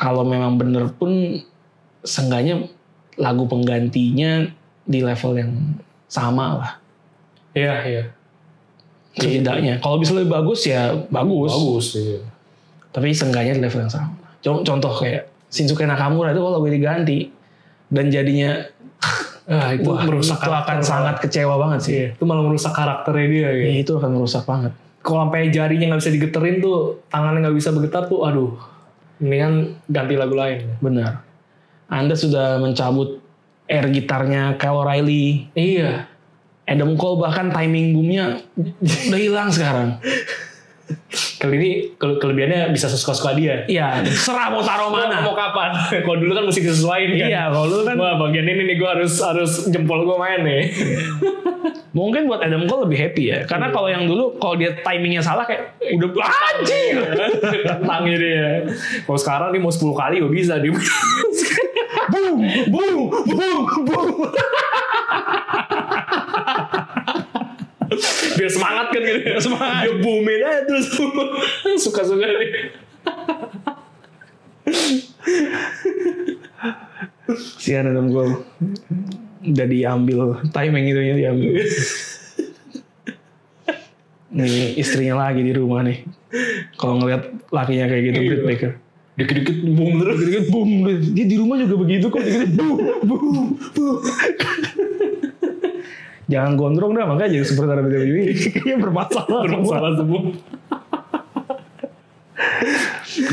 [SPEAKER 1] kalau memang bener pun seenggaknya lagu penggantinya di level yang sama lah.
[SPEAKER 2] Iya, iya.
[SPEAKER 1] Setidaknya. Kalau bisa lebih bagus ya bagus.
[SPEAKER 2] Bagus. Iya.
[SPEAKER 1] tapi seenggaknya di level yang sama. Co- Contoh kayak Shinsuke Nakamura itu kalau gue diganti dan jadinya
[SPEAKER 2] Ah, itu
[SPEAKER 1] wah,
[SPEAKER 2] merusak
[SPEAKER 1] itu akan
[SPEAKER 2] karakter.
[SPEAKER 1] sangat kecewa banget sih.
[SPEAKER 2] Iya, itu malah merusak karakternya dia ya.
[SPEAKER 1] Ya, itu akan merusak banget.
[SPEAKER 2] Kalau sampai jarinya nggak bisa digeterin tuh, tangannya nggak bisa bergetar tuh, aduh. Mendingan ganti lagu lain.
[SPEAKER 1] Benar. Anda sudah mencabut air gitarnya Kyle O'Reilly,
[SPEAKER 2] Iya.
[SPEAKER 1] Adam Cole bahkan timing boomnya udah hilang sekarang.
[SPEAKER 2] Kali ini kele- kelebihannya bisa sesuka-suka dia.
[SPEAKER 1] Iya, serah mau taruh mana.
[SPEAKER 2] Mau kapan? Kalau dulu kan mesti disesuaikan kan.
[SPEAKER 1] Iya, kalau dulu kan
[SPEAKER 2] Wah bagian ini nih gue harus harus jempol gue main nih.
[SPEAKER 1] mungkin buat Adam Cole lebih happy ya. Karena kalau yang dulu kalau dia timingnya salah kayak udah anjing.
[SPEAKER 2] Tentang ini ya. Kalau sekarang nih mau 10 kali gue bisa dia.
[SPEAKER 1] boom, boom, boom, boom.
[SPEAKER 2] Biar semangat kan gitu. semangat.
[SPEAKER 1] Ya,
[SPEAKER 2] Dia booming aja terus. Suka-suka nih.
[SPEAKER 1] Sian Adam Cole udah diambil timing itu ya diambil. nih istrinya lagi di rumah nih. Kalau ngeliat lakinya kayak gitu
[SPEAKER 2] Iya.
[SPEAKER 1] Britt Baker.
[SPEAKER 2] Dikit-dikit boom terus.
[SPEAKER 1] Dikit-dikit boom, dia di rumah juga begitu kok dikit boom, boom, boom. Jangan gondrong dah makanya jadi seperti ada WWE. E. Kayaknya bermasalah. bermasalah.
[SPEAKER 2] Bermasalah semua.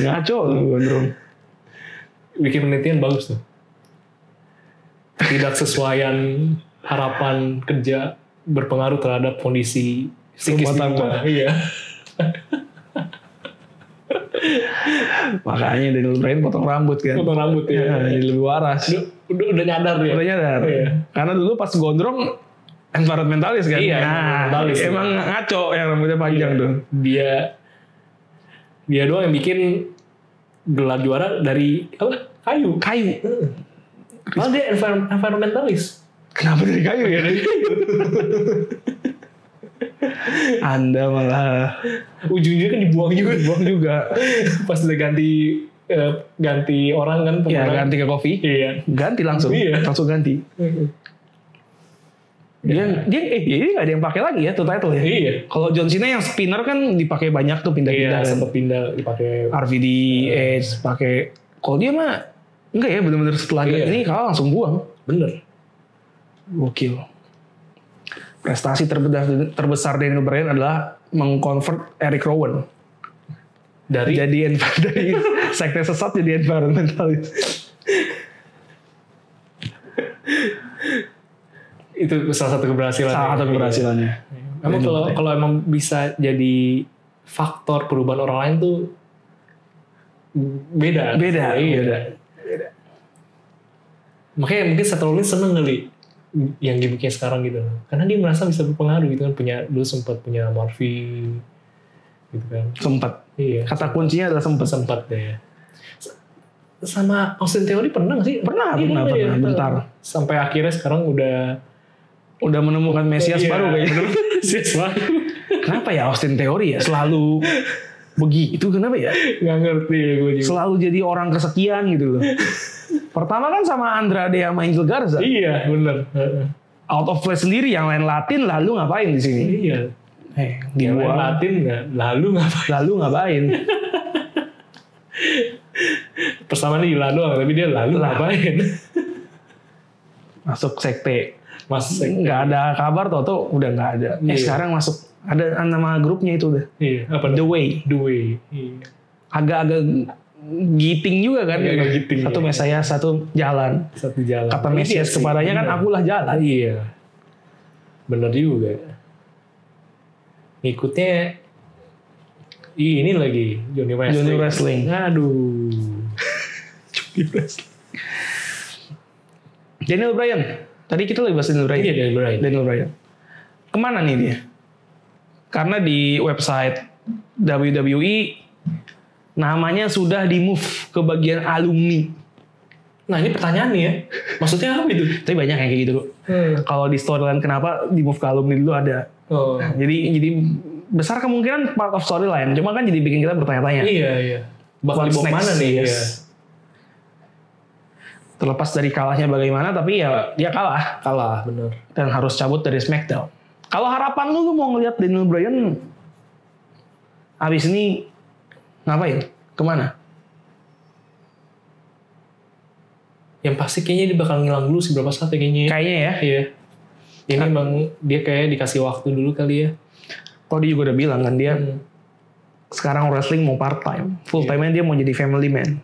[SPEAKER 1] Ngaco lu gondrong.
[SPEAKER 2] Bikin penelitian bagus tuh. Tidak sesuaian harapan kerja berpengaruh terhadap kondisi
[SPEAKER 1] Rumah
[SPEAKER 2] psikis di
[SPEAKER 1] tangga.
[SPEAKER 2] rumah. Iya.
[SPEAKER 1] Makanya Daniel Bryan potong rambut kan.
[SPEAKER 2] Potong rambut ya.
[SPEAKER 1] Ya, jadi lebih waras. iya.
[SPEAKER 2] Udah, udah, udah nyadar dia.
[SPEAKER 1] Udah nyadar.
[SPEAKER 2] Iya.
[SPEAKER 1] Karena dulu pas gondrong environmentalis kan?
[SPEAKER 2] Iya, environmentalis.
[SPEAKER 1] Emang ngaco yang rambutnya panjang tuh.
[SPEAKER 2] dia dia doang yang bikin gelar juara dari apa kayu
[SPEAKER 1] Kayu.
[SPEAKER 2] malah dia environ- environmentalis
[SPEAKER 1] Kenapa dari kayu ya? Anda malah
[SPEAKER 2] ujungnya kan dibuang juga
[SPEAKER 1] buang juga.
[SPEAKER 2] pas udah ganti eh, ganti orang kan
[SPEAKER 1] Ya
[SPEAKER 2] pemenang.
[SPEAKER 1] ganti ke kopi.
[SPEAKER 2] iya
[SPEAKER 1] Ganti langsung.
[SPEAKER 2] Iya.
[SPEAKER 1] Langsung ganti. Dia, dia eh jadi nggak ada yang pakai lagi ya tuh title ya.
[SPEAKER 2] iya
[SPEAKER 1] Kalau John Cena yang spinner kan dipakai banyak tuh
[SPEAKER 2] iya
[SPEAKER 1] pindah-pindah. kan.
[SPEAKER 2] sempat pindah dipakai
[SPEAKER 1] RVD, Edge, pakai. Kalau dia mah enggak ya bener-bener setelah
[SPEAKER 2] Iya.
[SPEAKER 1] ini kalau langsung buang.
[SPEAKER 2] bener
[SPEAKER 1] Gokil. Prestasi terbesar, terbesar Daniel Bryan adalah mengkonvert Eric Rowan
[SPEAKER 2] dari
[SPEAKER 1] jadi env- dari sekte sesat jadi environmentalis.
[SPEAKER 2] itu salah satu keberhasilan
[SPEAKER 1] Salah satu keberhasilannya.
[SPEAKER 2] Iya. Emang
[SPEAKER 1] Iya.
[SPEAKER 2] kalau kalau emang bisa jadi faktor perubahan orang lain tuh beda.
[SPEAKER 1] Beda,
[SPEAKER 2] Iya.
[SPEAKER 1] beda.
[SPEAKER 2] Makanya mungkin Seth Rollins seneng kali yang gimmicknya sekarang gitu. Karena dia merasa bisa berpengaruh gitu kan punya dulu sempat punya Murphy gitu kan.
[SPEAKER 1] Sempat.
[SPEAKER 2] Iya.
[SPEAKER 1] Kata kuncinya adalah sempat.
[SPEAKER 2] Sempat deh. S- Sama Austin Theory pernah gak sih?
[SPEAKER 1] Pernah,
[SPEAKER 2] Iya,
[SPEAKER 1] pernah,
[SPEAKER 2] ya.
[SPEAKER 1] pernah. Bentar.
[SPEAKER 2] Sampai akhirnya sekarang udah
[SPEAKER 1] Udah menemukan Mesias
[SPEAKER 2] Iya,
[SPEAKER 1] baru kayaknya.
[SPEAKER 2] bener. Mesias baru.
[SPEAKER 1] Kenapa ya Austin teori ya selalu begitu kenapa ya?
[SPEAKER 2] Gak ngerti ya gue juga.
[SPEAKER 1] Selalu jadi orang kesekian gitu loh. Pertama kan sama Andrade sama Angel Garza.
[SPEAKER 2] Iya, bener. Heeh.
[SPEAKER 1] Out of place sendiri yang lain Latin lalu ngapain di sini?
[SPEAKER 2] Iya.
[SPEAKER 1] Eh,
[SPEAKER 2] Yang lain
[SPEAKER 1] dibuang.
[SPEAKER 2] Latin nggak? Lalu ngapain?
[SPEAKER 1] lalu ngapain?
[SPEAKER 2] Persamaan di lalu, tapi dia lalu
[SPEAKER 1] Lah.
[SPEAKER 2] ngapain?
[SPEAKER 1] Masuk sekte.
[SPEAKER 2] Mas,
[SPEAKER 1] Nggak ada kabar Toto udah nggak ada. Eh
[SPEAKER 2] Iya.
[SPEAKER 1] sekarang masuk ada nama grupnya itu udah.
[SPEAKER 2] iya, apa?
[SPEAKER 1] The
[SPEAKER 2] The,
[SPEAKER 1] Way.
[SPEAKER 2] the way. Iya.
[SPEAKER 1] Agak-agak giting juga kan?
[SPEAKER 2] Iya, agak giting,
[SPEAKER 1] satu
[SPEAKER 2] iya.
[SPEAKER 1] Mesias, satu jalan.
[SPEAKER 2] Satu jalan.
[SPEAKER 1] Kata
[SPEAKER 2] Iya
[SPEAKER 1] Mesias
[SPEAKER 2] sih,
[SPEAKER 1] kepadanya kan
[SPEAKER 2] bener.
[SPEAKER 1] akulah jalan.
[SPEAKER 2] Iya. Bener juga. Ngikutnya Ih, ini lagi Johnny Wrestling.
[SPEAKER 1] Johnny Wrestling.
[SPEAKER 2] Aduh.
[SPEAKER 1] Daniel Bryan. Tadi kita lagi bahas Daniel Bryan.
[SPEAKER 2] Iya, Johnny Bryan.
[SPEAKER 1] Daniel Bryan. Kemana nih dia? Karena di website WWE namanya sudah di move ke bagian alumni.
[SPEAKER 2] Nah, ini pertanyaan nih ya. Maksudnya apa itu?
[SPEAKER 1] Tapi banyak yang kayak gitu. Bro. Kalau di storyline kenapa di move ke alumni dulu ada.
[SPEAKER 2] Oh.
[SPEAKER 1] Jadi jadi besar kemungkinan part of storyline. Cuma kan jadi bikin kita bertanya-tanya.
[SPEAKER 2] Iya, iya. Bakal dibawa
[SPEAKER 1] next?
[SPEAKER 2] mana nih?
[SPEAKER 1] Yes.
[SPEAKER 2] Iya.
[SPEAKER 1] Terlepas dari kalahnya bagaimana, tapi ya dia kalah
[SPEAKER 2] Kalah, bener.
[SPEAKER 1] dan harus cabut dari SmackDown. Kalau harapan lu, lu mau ngelihat Daniel Bryan habis ini ngapain? Kemana?
[SPEAKER 2] yang pasti kayaknya dia bakal ngilang dulu sih berapa saat ya kayaknya ya.
[SPEAKER 1] Kayaknya ya.
[SPEAKER 2] Iya. Ini emang dia kayak dikasih waktu dulu kali ya.
[SPEAKER 1] Kalau dia juga udah bilang kan dia
[SPEAKER 2] Hmm.
[SPEAKER 1] sekarang wrestling mau part time, full time nya dia mau jadi family man.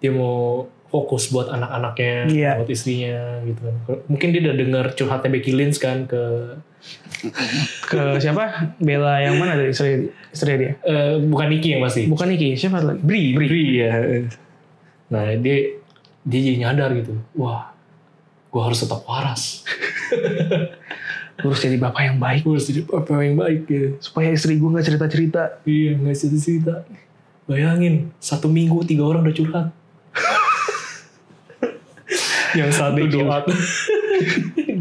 [SPEAKER 2] Dia mau fokus buat anak-anaknya,
[SPEAKER 1] Iya.
[SPEAKER 2] buat istrinya gitu kan. Mungkin dia udah denger curhatnya Becky Lynch kan ke
[SPEAKER 1] Ke siapa? Bella yang mana dari istri, istri dia?
[SPEAKER 2] eh, bukan Nikki yang pasti.
[SPEAKER 1] Bukan Niki, siapa lagi? Bri, Bri.
[SPEAKER 2] ya. Nah, dia dia jadi nyadar gitu. Wah, gue harus tetap waras.
[SPEAKER 1] Lu Harus jadi bapak yang baik
[SPEAKER 2] Gue harus jadi apa yang baik gitu.
[SPEAKER 1] supaya istri gue nggak cerita cerita.
[SPEAKER 2] Iya, nggak cerita-cerita. Bayangin, satu minggu tiga orang udah curhat. Yang satu
[SPEAKER 1] Becky.
[SPEAKER 2] doa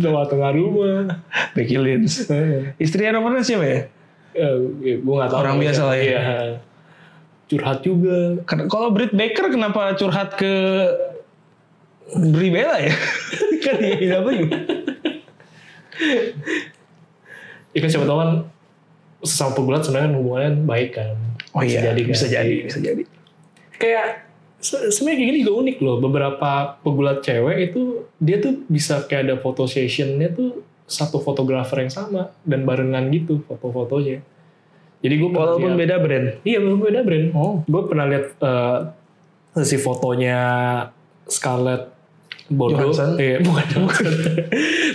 [SPEAKER 2] doa tengah rumah.
[SPEAKER 1] Becky Lynch.
[SPEAKER 2] Eh,
[SPEAKER 1] Istrinya nomornya siapa ya?
[SPEAKER 2] eh, gue nggak tahu.
[SPEAKER 1] Orang biasa lah ya.
[SPEAKER 2] Iya. Curhat juga.
[SPEAKER 1] Ken- Kalau Britt Baker kenapa curhat ke Bri Bella ya? kan dia bilang apa juga.
[SPEAKER 2] Ya kan siapa tahu kan sesama pergulat sebenarnya kan hubungannya baik kan.
[SPEAKER 1] Oh iya,
[SPEAKER 2] jadi kan?
[SPEAKER 1] bisa jadi, bisa jadi.
[SPEAKER 2] Kayak se- sebenarnya kayak gini juga unik loh. Beberapa pegulat cewek itu dia tuh bisa kayak ada foto sessionnya tuh satu fotografer yang sama dan barengan gitu foto-fotonya. Jadi gue
[SPEAKER 1] Walaupun beda brand.
[SPEAKER 2] Iya, walaupun beda brand.
[SPEAKER 1] Oh,
[SPEAKER 2] Gue pernah lihat eh, si fotonya Scarlett Bordeaux.
[SPEAKER 1] Johansson?
[SPEAKER 2] Iya, bukan Johansson.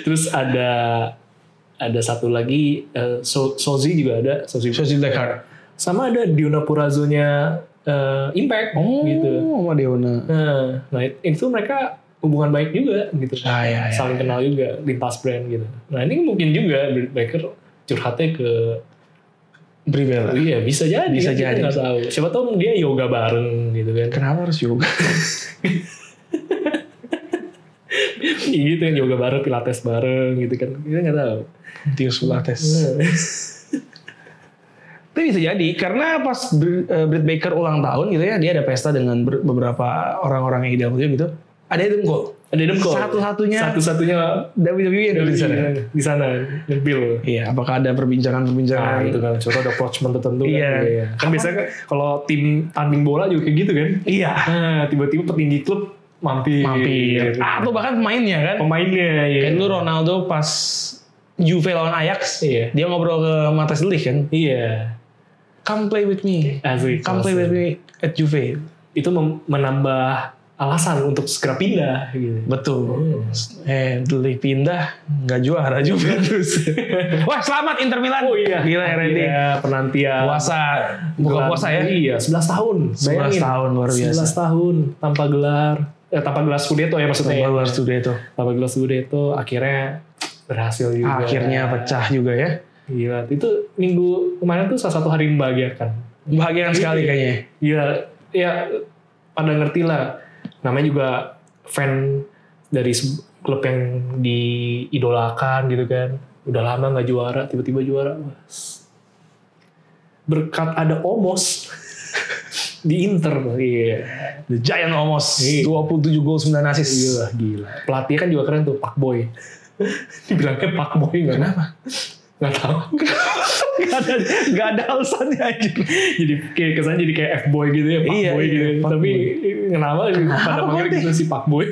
[SPEAKER 2] Terus ada ada satu lagi eh, So- Sozi juga ada, Sozi.
[SPEAKER 1] Sozi Blackheart.
[SPEAKER 2] Sama ada Diona Purazzo-nya eh, Impact
[SPEAKER 1] Oh,
[SPEAKER 2] gitu.
[SPEAKER 1] sama Deona.
[SPEAKER 2] Nah, nah, itu mereka hubungan baik juga gitu.
[SPEAKER 1] Ah, iya, iya,
[SPEAKER 2] Saling kenal juga lintas brand gitu. Nah ini mungkin juga baker curhatnya ke
[SPEAKER 1] Bribella.
[SPEAKER 2] iya bisa
[SPEAKER 1] Ah,
[SPEAKER 2] jadi
[SPEAKER 1] Bisa
[SPEAKER 2] kan, kita
[SPEAKER 1] jadi.
[SPEAKER 2] nggak tahu siapa tahu dia yoga bareng gitu kan
[SPEAKER 1] Kenapa harus yoga?
[SPEAKER 2] Iya, gitu kan yoga bareng pilates bareng gitu kan kita nggak tahu
[SPEAKER 1] Tius Pilates. Itu bisa jadi karena pas Br- eh, Britt Baker ulang tahun gitu ya, dia ada pesta dengan ber- beberapa orang-orang yang idol gitu. Ada Adam Cole.
[SPEAKER 2] ada demko
[SPEAKER 1] Satu-satunya
[SPEAKER 2] satu-satunya Iya,
[SPEAKER 1] WWE E yang ada di sana.
[SPEAKER 2] di sana nempil
[SPEAKER 1] Iya, apakah ada perbincangan-perbincangan?
[SPEAKER 2] Nah, itu kan contoh ada approachment tertentu kan.
[SPEAKER 1] Iya.
[SPEAKER 2] Kan biasanya kan kalau tim tanding bola juga kayak gitu kan.
[SPEAKER 1] Iya,
[SPEAKER 2] Nah, tiba-tiba petinggi klub mampir.
[SPEAKER 1] mampir.
[SPEAKER 2] Ah,
[SPEAKER 1] Atau bahkan pemainnya kan.
[SPEAKER 2] pemainnya ya.
[SPEAKER 1] Kayak dulu Ronaldo pas Juve lawan Ajax,
[SPEAKER 2] Iya.
[SPEAKER 1] dia ngobrol ke Matas Delik kan.
[SPEAKER 2] Iya.
[SPEAKER 1] Come play with me.
[SPEAKER 2] Asik.
[SPEAKER 1] Come play with me at Juve.
[SPEAKER 2] Itu mem- menambah alasan untuk segera pindah gitu.
[SPEAKER 1] Betul. Eh, Delik pindah, nggak juara Juventus. Wah, selamat Inter Milan.
[SPEAKER 2] Oh iya.
[SPEAKER 1] Gila ya Randy.
[SPEAKER 2] Akhirnya penantian.
[SPEAKER 1] Puasa, buka
[SPEAKER 2] Gelar-
[SPEAKER 1] puasa ya.
[SPEAKER 2] Iya, 11 tahun.
[SPEAKER 1] 11 tahun, luar biasa.
[SPEAKER 2] 11 tahun tanpa gelar. Eh, tanpa gelar Scudetto ya maksudnya. ya.
[SPEAKER 1] Baru harus today tuh.
[SPEAKER 2] Tanpa gelar Scudetto akhirnya berhasil juga.
[SPEAKER 1] Akhirnya pecah juga ya.
[SPEAKER 2] Gila, itu minggu kemarin tuh salah satu hari membahagiakan.
[SPEAKER 1] Bahagian
[SPEAKER 2] Iya.
[SPEAKER 1] sekali kayaknya.
[SPEAKER 2] Gila, ya pada ngerti lah. Namanya juga fan dari se- klub yang diidolakan gitu kan. Udah lama nggak juara, tiba-tiba juara. Wah. Berkat ada Omos di Inter. Iya.
[SPEAKER 1] The Giant almost
[SPEAKER 2] Iya.
[SPEAKER 1] 27 gol 9 assist.
[SPEAKER 2] Gila, gila. Pelatihnya kan juga keren tuh, Pak Boy. Dibilangnya Pak Boy nggak Kenapa? Nggak tahu.
[SPEAKER 1] Gak ada, gak ada alasannya aja.
[SPEAKER 2] jadi kayak kesannya jadi kayak F boy gitu ya, pak
[SPEAKER 1] Iya,
[SPEAKER 2] boy
[SPEAKER 1] iya,
[SPEAKER 2] gitu.
[SPEAKER 1] fuck
[SPEAKER 2] Tapi kenapa, pada
[SPEAKER 1] Pak
[SPEAKER 2] panggil
[SPEAKER 1] Boy?
[SPEAKER 2] gitu si pak boy?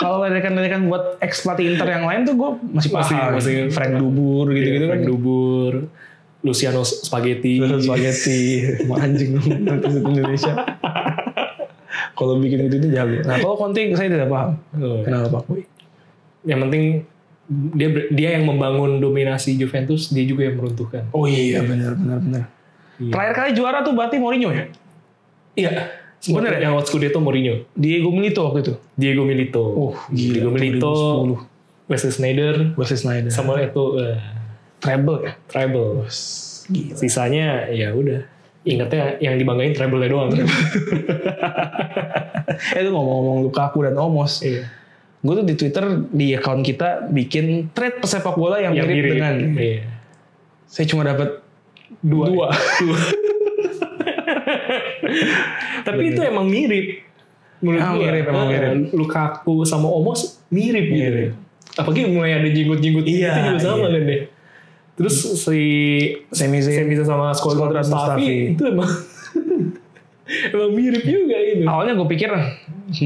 [SPEAKER 1] Kalau ledekan-ledekan buat ex pelatih Inter yang lain tuh gue masih
[SPEAKER 2] Masih-
[SPEAKER 1] paham.
[SPEAKER 2] masih- Iya,
[SPEAKER 1] Frank Dubur gitu-gitu
[SPEAKER 2] Frank
[SPEAKER 1] kan.
[SPEAKER 2] Dubur, Luciano Spaghetti.
[SPEAKER 1] Iya. spaghetti Emang anjing lu, nanti di Indonesia kalau bikin gitu itu jago nah kalau konting saya tidak paham
[SPEAKER 2] Oh.
[SPEAKER 1] kenapa Pak Boy
[SPEAKER 2] Yang penting dia dia yang membangun dominasi Juventus, dia juga yang meruntuhkan.
[SPEAKER 1] oh iya benar benar benar
[SPEAKER 2] Iya.
[SPEAKER 1] terakhir kali juara tuh berarti Mourinho ya
[SPEAKER 2] Iya.
[SPEAKER 1] Bener ya?
[SPEAKER 2] Sebenarnya yang waktu Scudetto Mourinho,
[SPEAKER 1] Diego Milito waktu itu
[SPEAKER 2] Diego Milito,
[SPEAKER 1] Oh, gila,
[SPEAKER 2] Diego Milito,
[SPEAKER 1] 2010.
[SPEAKER 2] Wesley Sneijder,
[SPEAKER 1] versus Snyder
[SPEAKER 2] Samuel Eto'o, eh,
[SPEAKER 1] treble ya
[SPEAKER 2] Tribal.
[SPEAKER 1] gila
[SPEAKER 2] Sisanya ya udah. Ingatnya yang dibanggain treble doang.
[SPEAKER 1] Iya. eh itu ngomong-ngomong Lukaku dan Omos
[SPEAKER 2] Iya.
[SPEAKER 1] gue tuh di Twitter di account kita bikin thread pesepak bola yang,
[SPEAKER 2] yang
[SPEAKER 1] mirip,
[SPEAKER 2] mirip
[SPEAKER 1] dengan
[SPEAKER 2] Iya.
[SPEAKER 1] saya cuma dapat
[SPEAKER 2] dua,
[SPEAKER 1] Dua.
[SPEAKER 2] Dua. tapi itu emang mirip menurut
[SPEAKER 1] Ah,
[SPEAKER 2] gua.
[SPEAKER 1] mirip, emang
[SPEAKER 2] Ah,
[SPEAKER 1] mirip.
[SPEAKER 2] Lukaku sama Omos mirip,
[SPEAKER 1] Mirip.
[SPEAKER 2] gitu apalagi mulai ada jenggot-jenggot
[SPEAKER 1] Iya,
[SPEAKER 2] itu juga sama kan deh terus si
[SPEAKER 1] semi semi
[SPEAKER 2] Semisa sama Skodrat
[SPEAKER 1] Skodran Mustafi.
[SPEAKER 2] Mustafi itu emang emang mirip juga itu
[SPEAKER 1] awalnya gue pikir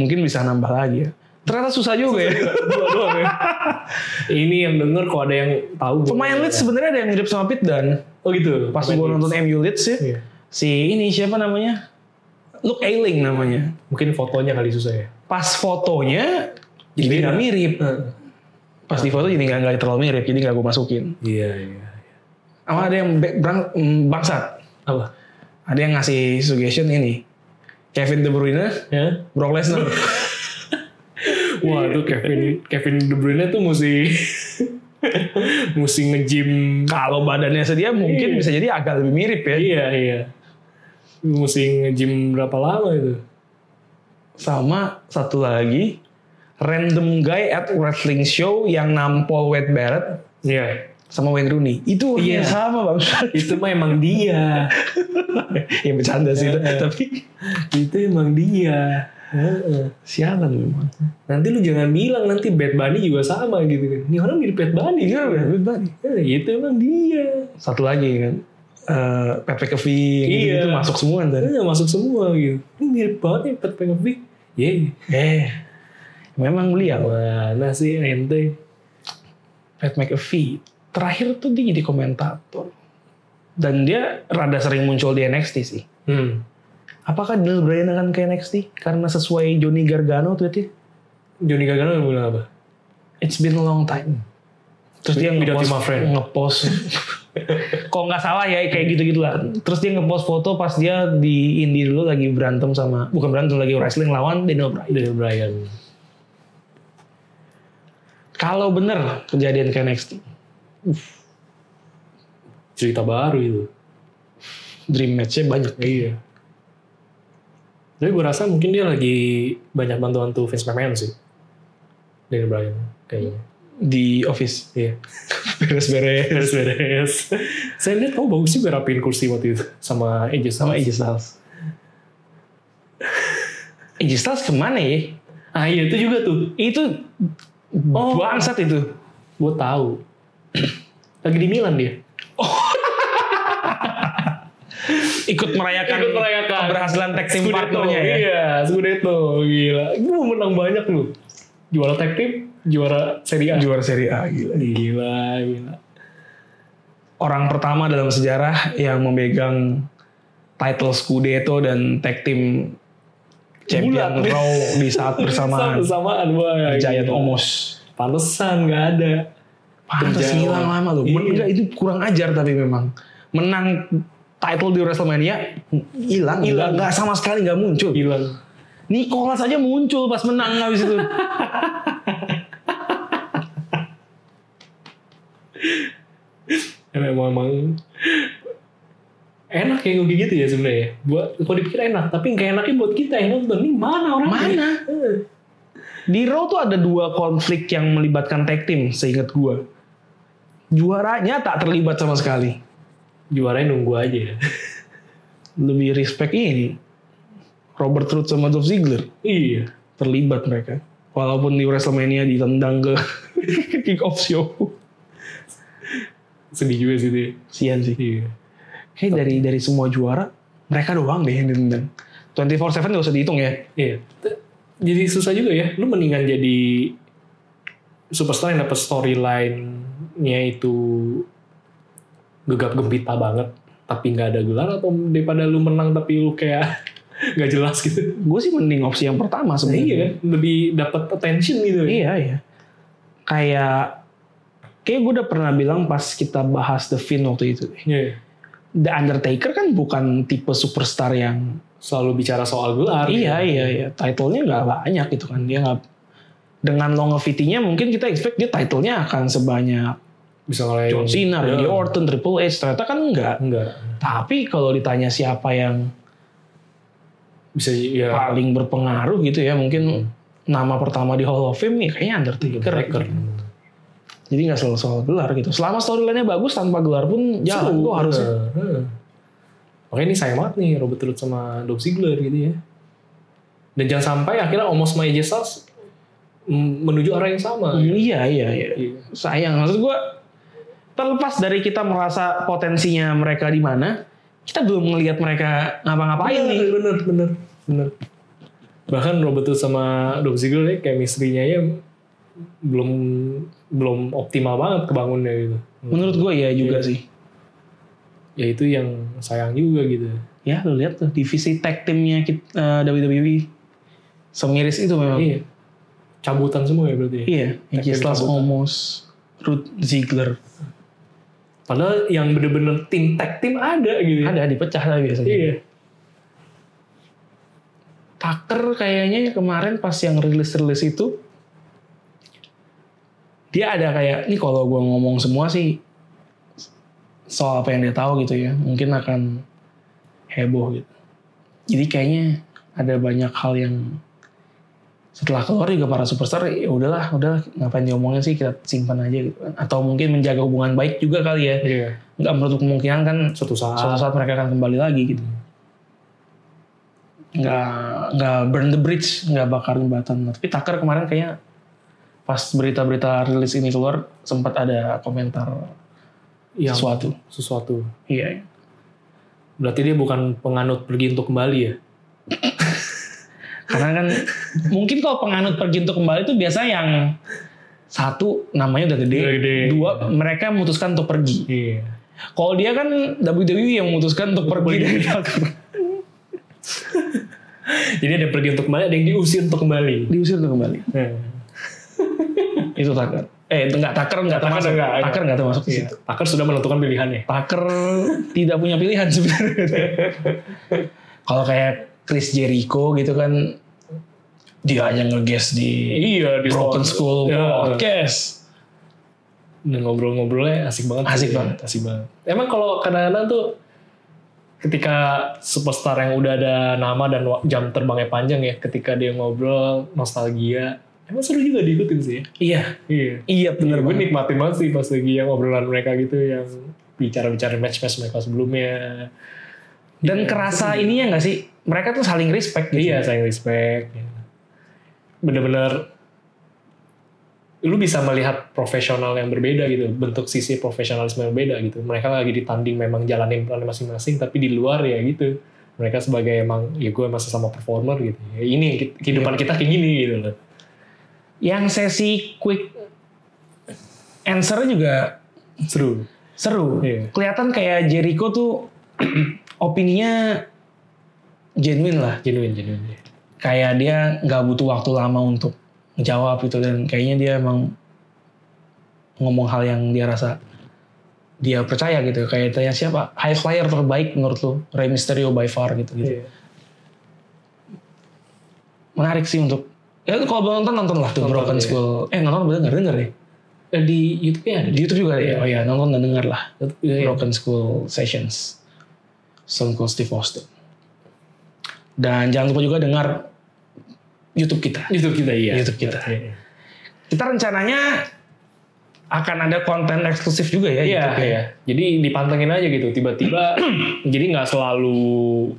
[SPEAKER 1] mungkin bisa nambah lagi ya ternyata susah juga ya
[SPEAKER 2] dua doang ya ini yang denger kalau ada yang tahu gua-
[SPEAKER 1] Pemain Leeds sebenarnya ada yang mirip sama Pit dan
[SPEAKER 2] oh gitu
[SPEAKER 1] pas
[SPEAKER 2] Pemain
[SPEAKER 1] gue
[SPEAKER 2] Leeds.
[SPEAKER 1] nonton MU Leeds ya,
[SPEAKER 2] Iya.
[SPEAKER 1] si ini siapa namanya? Luke Ayling namanya.
[SPEAKER 2] mungkin fotonya kali susah ya
[SPEAKER 1] Pas fotonya jadi nggak mirip. Pas di foto jadi nggak nggak terlalu mirip, jadi nggak gue masukin.
[SPEAKER 2] iya iya
[SPEAKER 1] Sama ada yang be- berang- mm, bangsat.
[SPEAKER 2] apa
[SPEAKER 1] Ada yang ngasih suggestion ini. Kevin De Bruyne,
[SPEAKER 2] ya
[SPEAKER 1] Brock Lesnar.
[SPEAKER 2] Wah itu Kevin Kevin De Bruyne tuh mesti mesti nge-gym
[SPEAKER 1] Kalau badannya sedia mungkin
[SPEAKER 2] Iya.
[SPEAKER 1] bisa jadi agak lebih mirip ya.
[SPEAKER 2] iya iya mesti nge-gym berapa lama itu
[SPEAKER 1] Sama satu lagi random guy at wrestling show yang nampol Wade Barrett
[SPEAKER 2] iya
[SPEAKER 1] sama Wayne Rooney itu
[SPEAKER 2] Iya.
[SPEAKER 1] yang sama bang
[SPEAKER 2] itu mah emang dia
[SPEAKER 1] ya bercanda sih
[SPEAKER 2] Iya,
[SPEAKER 1] itu. tapi
[SPEAKER 2] itu emang dia Heeh.
[SPEAKER 1] sialan memang
[SPEAKER 2] nanti lu jangan bilang nanti Bad Bunny juga sama gitu kan ini orang mirip Bad Bunny
[SPEAKER 1] ini
[SPEAKER 2] kan
[SPEAKER 1] kan udah hebat nih.
[SPEAKER 2] Ya, itu emang dia
[SPEAKER 1] satu lagi kan eh Pepe Kevin
[SPEAKER 2] Iya.
[SPEAKER 1] itu masuk semua kan ntar
[SPEAKER 2] Itu masuk semua gitu ini mirip banget nih Pat Pengevi Yeay
[SPEAKER 1] eh memang beliau
[SPEAKER 2] mana sih ente
[SPEAKER 1] Pat McAfee terakhir tuh dia jadi komentator dan dia rada sering muncul di NXT sih
[SPEAKER 2] hmm
[SPEAKER 1] apakah Daniel Bryan akan ke NXT karena sesuai Johnny Gargano tweetnya
[SPEAKER 2] Johnny Gargano bilang apa
[SPEAKER 1] it's been a long time terus dia
[SPEAKER 2] Without
[SPEAKER 1] ngepost
[SPEAKER 2] you, my friend.
[SPEAKER 1] ngepost kalau nggak salah ya kayak gitu gitulah terus dia ngepost foto pas dia di Indi dulu lagi berantem sama bukan berantem lagi wrestling lawan Daniel Bryan
[SPEAKER 2] Daniel Bryan
[SPEAKER 1] Kalau bener kejadian ke NXT,
[SPEAKER 2] Cerita baru itu.
[SPEAKER 1] dream match-nya banyak.
[SPEAKER 2] Iya. Tapi gue rasa mungkin dia lagi banyak bantuan tuh Vince McMahon sih. Daniel Bryan kayaknya.
[SPEAKER 1] Di office.
[SPEAKER 2] Iya.
[SPEAKER 1] Beres-beres.
[SPEAKER 2] Beres-beres. Saya lihat kamu bagus juga rapiin kursi waktu itu sama AJ Styles.
[SPEAKER 1] Sama AJ Styles. AJ Styles kemana ya?
[SPEAKER 2] Ah iya itu juga tuh.
[SPEAKER 1] Itu
[SPEAKER 2] Oh.
[SPEAKER 1] bangsat itu.
[SPEAKER 2] Gue tahu. Lagi di Milan dia.
[SPEAKER 1] Ikut merayakan,
[SPEAKER 2] Ikut merayakan.
[SPEAKER 1] keberhasilan tag team
[SPEAKER 2] Scudetto,
[SPEAKER 1] partnernya ya.
[SPEAKER 2] Iya, Scudetto. Gila. Gue menang banyak lu. Juara tag team, juara Serie A.
[SPEAKER 1] Juara Serie A gila.
[SPEAKER 2] Gila, gila.
[SPEAKER 1] Orang pertama dalam sejarah yang memegang title Scudetto dan tag team champion
[SPEAKER 2] Bulat.
[SPEAKER 1] Raw di saat bersamaan.
[SPEAKER 2] Bersamaan, wah.
[SPEAKER 1] Giant
[SPEAKER 2] gila.
[SPEAKER 1] Omos.
[SPEAKER 2] Pantesan gak ada.
[SPEAKER 1] Pantes
[SPEAKER 2] Penjauhan.
[SPEAKER 1] hilang lama loh. Men-
[SPEAKER 2] Iya.
[SPEAKER 1] Enggak itu kurang ajar tapi memang. Menang title di Wrestlemania hilang,
[SPEAKER 2] Hilang.
[SPEAKER 1] hilang nggak sama sekali nggak muncul.
[SPEAKER 2] Hilang.
[SPEAKER 1] Nicolas aja muncul pas menang habis itu.
[SPEAKER 2] Emang, emang enak ya gue gitu ya sebenarnya. Buat kalau dipikir enak, tapi nggak enaknya buat kita yang nonton. Ini mana orangnya?
[SPEAKER 1] Mana?
[SPEAKER 2] Eh.
[SPEAKER 1] Di Raw tuh ada dua konflik yang melibatkan tag team seingat gua. Juaranya tak terlibat sama sekali.
[SPEAKER 2] Juaranya nunggu aja.
[SPEAKER 1] Lebih respect ini. Robert Roode sama Dolph Ziggler
[SPEAKER 2] iya.
[SPEAKER 1] terlibat mereka. Walaupun di Wrestlemania ditendang ke kick off show.
[SPEAKER 2] Sedih juga sih dia.
[SPEAKER 1] Sian sih.
[SPEAKER 2] Iya.
[SPEAKER 1] Kayak dari dari semua juara mereka doang deh yang ditendang. 24/7 gak usah dihitung ya.
[SPEAKER 2] Iya. T- Jadi susah juga ya. Lu mendingan jadi superstar yang dapat storyline-nya itu gegap gempita banget tapi nggak ada gelar atau daripada lu menang tapi lu kayak nggak jelas gitu.
[SPEAKER 1] Gue sih mending opsi yang pertama
[SPEAKER 2] Nah, iya
[SPEAKER 1] sebenarnya.
[SPEAKER 2] kan lebih dapat attention gitu.
[SPEAKER 1] Iya iya. Kayak kayak gue udah pernah bilang pas kita bahas The Finn waktu itu. deh.
[SPEAKER 2] Iya.
[SPEAKER 1] The Undertaker kan bukan tipe superstar yang
[SPEAKER 2] selalu bicara soal gelar.
[SPEAKER 1] iya
[SPEAKER 2] gitu.
[SPEAKER 1] iya iya. Titlenya nggak banyak gitu kan dia nggak dengan longevity-nya mungkin kita expect dia titlenya akan sebanyak
[SPEAKER 2] Bisa ngelain
[SPEAKER 1] John Cena, Randy
[SPEAKER 2] Iya.
[SPEAKER 1] Orton, Triple H ternyata kan enggak.
[SPEAKER 2] Enggak.
[SPEAKER 1] Tapi kalau ditanya siapa yang
[SPEAKER 2] Bisa ya Hmm.
[SPEAKER 1] paling berpengaruh gitu ya mungkin nama pertama di Hall of Fame ya kayaknya Undertaker. gitu.
[SPEAKER 2] Undertaker.
[SPEAKER 1] Jadi nggak selalu soal gelar gitu. Selama storyline-nya bagus tanpa gelar pun jalan
[SPEAKER 2] Seru,
[SPEAKER 1] kok harusnya.
[SPEAKER 2] bener. Heeh. Makanya ini sayang banget nih Robert Roode sama Dolph Ziggler gitu ya. Dan jangan sampai akhirnya Omos sama AJ Styles mm, menuju arah yang sama.
[SPEAKER 1] Hmm, Iya iya iya.
[SPEAKER 2] Iya.
[SPEAKER 1] Sayang maksud gue terlepas dari kita merasa potensinya mereka di mana, kita belum ngelihat mereka ngapa-ngapain nih.
[SPEAKER 2] Bener, bener, bener, bener. Bahkan Robert Roode sama Dolph Ziggler ya chemistry-nya ya belum belum optimal banget kebangunnya gitu.
[SPEAKER 1] Menurut gue ya juga
[SPEAKER 2] Iya.
[SPEAKER 1] sih.
[SPEAKER 2] ya itu yang sayang juga gitu.
[SPEAKER 1] Ya lu lihat tuh divisi tag timnya kita, eh, WWE semiris itu memang.
[SPEAKER 2] Iya. Cabutan semua ya berarti. ya?
[SPEAKER 1] Iya.
[SPEAKER 2] Tag
[SPEAKER 1] AJ
[SPEAKER 2] team
[SPEAKER 1] Styles,
[SPEAKER 2] cabutan.
[SPEAKER 1] Omos, Ruth Ziggler.
[SPEAKER 2] Padahal yang bener-bener tim tag tim ada gitu. ya.
[SPEAKER 1] Ada dipecah lah biasanya.
[SPEAKER 2] Iya.
[SPEAKER 1] Tucker kayaknya kemarin pas yang rilis-rilis itu dia ada kayak ini kalau gua ngomong semua sih soal apa yang dia tahu gitu ya mungkin akan heboh gitu jadi kayaknya ada banyak hal yang setelah keluar juga para superstar ya udahlah udahlah ngapain diomongin sih kita simpan aja gitu kan. atau mungkin menjaga hubungan baik juga kali ya
[SPEAKER 2] Iya.
[SPEAKER 1] nggak menutup kemungkinan kan
[SPEAKER 2] Suatu saat.
[SPEAKER 1] suatu saat mereka akan kembali lagi gitu nggak nggak burn the bridge nggak bakar jembatan tapi Tucker kemarin kayaknya pas berita-berita rilis ini keluar sempat ada komentar
[SPEAKER 2] yang
[SPEAKER 1] sesuatu
[SPEAKER 2] iya. sesuatu.
[SPEAKER 1] iya
[SPEAKER 2] Berarti dia bukan penganut pergi untuk kembali ya?
[SPEAKER 1] karena kan mungkin kalau penganut pergi untuk kembali itu biasa yang satu namanya udah gede,
[SPEAKER 2] Udah gede.
[SPEAKER 1] dua mereka memutuskan untuk pergi
[SPEAKER 2] Iya.
[SPEAKER 1] kalau dia kan WWE yang memutuskan untuk pergi dari Tucker
[SPEAKER 2] Jadi ada pergi untuk kembali, ada yang diusir untuk kembali.
[SPEAKER 1] diusir untuk kembali
[SPEAKER 2] Nah,
[SPEAKER 1] itu Tucker eh itu nggak Tucker nggak
[SPEAKER 2] Tucker
[SPEAKER 1] termasuk
[SPEAKER 2] nggak, iya.
[SPEAKER 1] Tucker nggak termasuk di situ
[SPEAKER 2] iya. Tucker sudah menentukan pilihannya.
[SPEAKER 1] Tucker tidak punya pilihan sebenarnya. Kalau kayak Chris Jericho gitu kan dia hanya ngegas di
[SPEAKER 2] Iya di
[SPEAKER 1] Broken School
[SPEAKER 2] Ya.
[SPEAKER 1] Podcast.
[SPEAKER 2] Dan ngobrol-ngobrolnya asik banget.
[SPEAKER 1] Asik
[SPEAKER 2] Iya.
[SPEAKER 1] banget.
[SPEAKER 2] asik banget. Emang kalau kadang-kadang tuh ketika superstar yang udah ada nama dan wa- jam terbangnya panjang ya, ketika dia ngobrol nostalgia, emang seru juga diikutin sih. ya.
[SPEAKER 1] Iya,
[SPEAKER 2] Iya.
[SPEAKER 1] iya bener
[SPEAKER 2] gue
[SPEAKER 1] banget.
[SPEAKER 2] nikmatin banget sih pas lagi yang ngobrolan mereka gitu yang bicara-bicara match-match mereka sebelumnya.
[SPEAKER 1] Dan
[SPEAKER 2] Iya,
[SPEAKER 1] kerasa ininya nggak sih? Mereka tuh saling respect gitu.
[SPEAKER 2] Iya, sayang respect. Bener-bener lu bisa melihat profesional yang berbeda gitu, bentuk sisi profesionalisme yang berbeda gitu. Mereka lagi ditanding memang jalanin peran masing-masing, tapi di luar ya gitu. Mereka sebagai emang ya gue masih sama performer gitu. Ya, ini ki-
[SPEAKER 1] Iya.
[SPEAKER 2] kehidupan kita kayak gini gitu loh.
[SPEAKER 1] Yang sesi quick answer juga
[SPEAKER 2] Seru.
[SPEAKER 1] seru.
[SPEAKER 2] Iya.
[SPEAKER 1] Kelihatan kayak Jericho tuh opininya genuine lah.
[SPEAKER 2] Genuine, genuine.
[SPEAKER 1] Iya. Kayak dia nggak butuh waktu lama untuk menjawab gitu dan kayaknya dia emang ngomong hal yang dia rasa dia percaya gitu. Kayak tanya siapa high flyer terbaik menurut lu? Rey Mysterio by far gitu gitu.
[SPEAKER 2] Iya.
[SPEAKER 1] Menarik sih untuk ya kalau belum nonton nonton lah tuh
[SPEAKER 2] Nonton,
[SPEAKER 1] Broken
[SPEAKER 2] iya.
[SPEAKER 1] School. Eh nonton udah denger denger ya.
[SPEAKER 2] Eh, Di YouTube-nya ada.
[SPEAKER 1] Di YouTube juga ya. Oh ya nonton dan denger lah.
[SPEAKER 2] Iya, iya.
[SPEAKER 1] Broken School Sessions Stone Cold Steve Austin dan jangan lupa juga dengar YouTube kita
[SPEAKER 2] YouTube kita iya.
[SPEAKER 1] YouTube kita.
[SPEAKER 2] Iya, iya.
[SPEAKER 1] kita rencananya akan ada konten eksklusif juga ya
[SPEAKER 2] Iya,
[SPEAKER 1] YouTube ya.
[SPEAKER 2] iya. Jadi dipantengin aja gitu tiba-tiba. jadi nggak selalu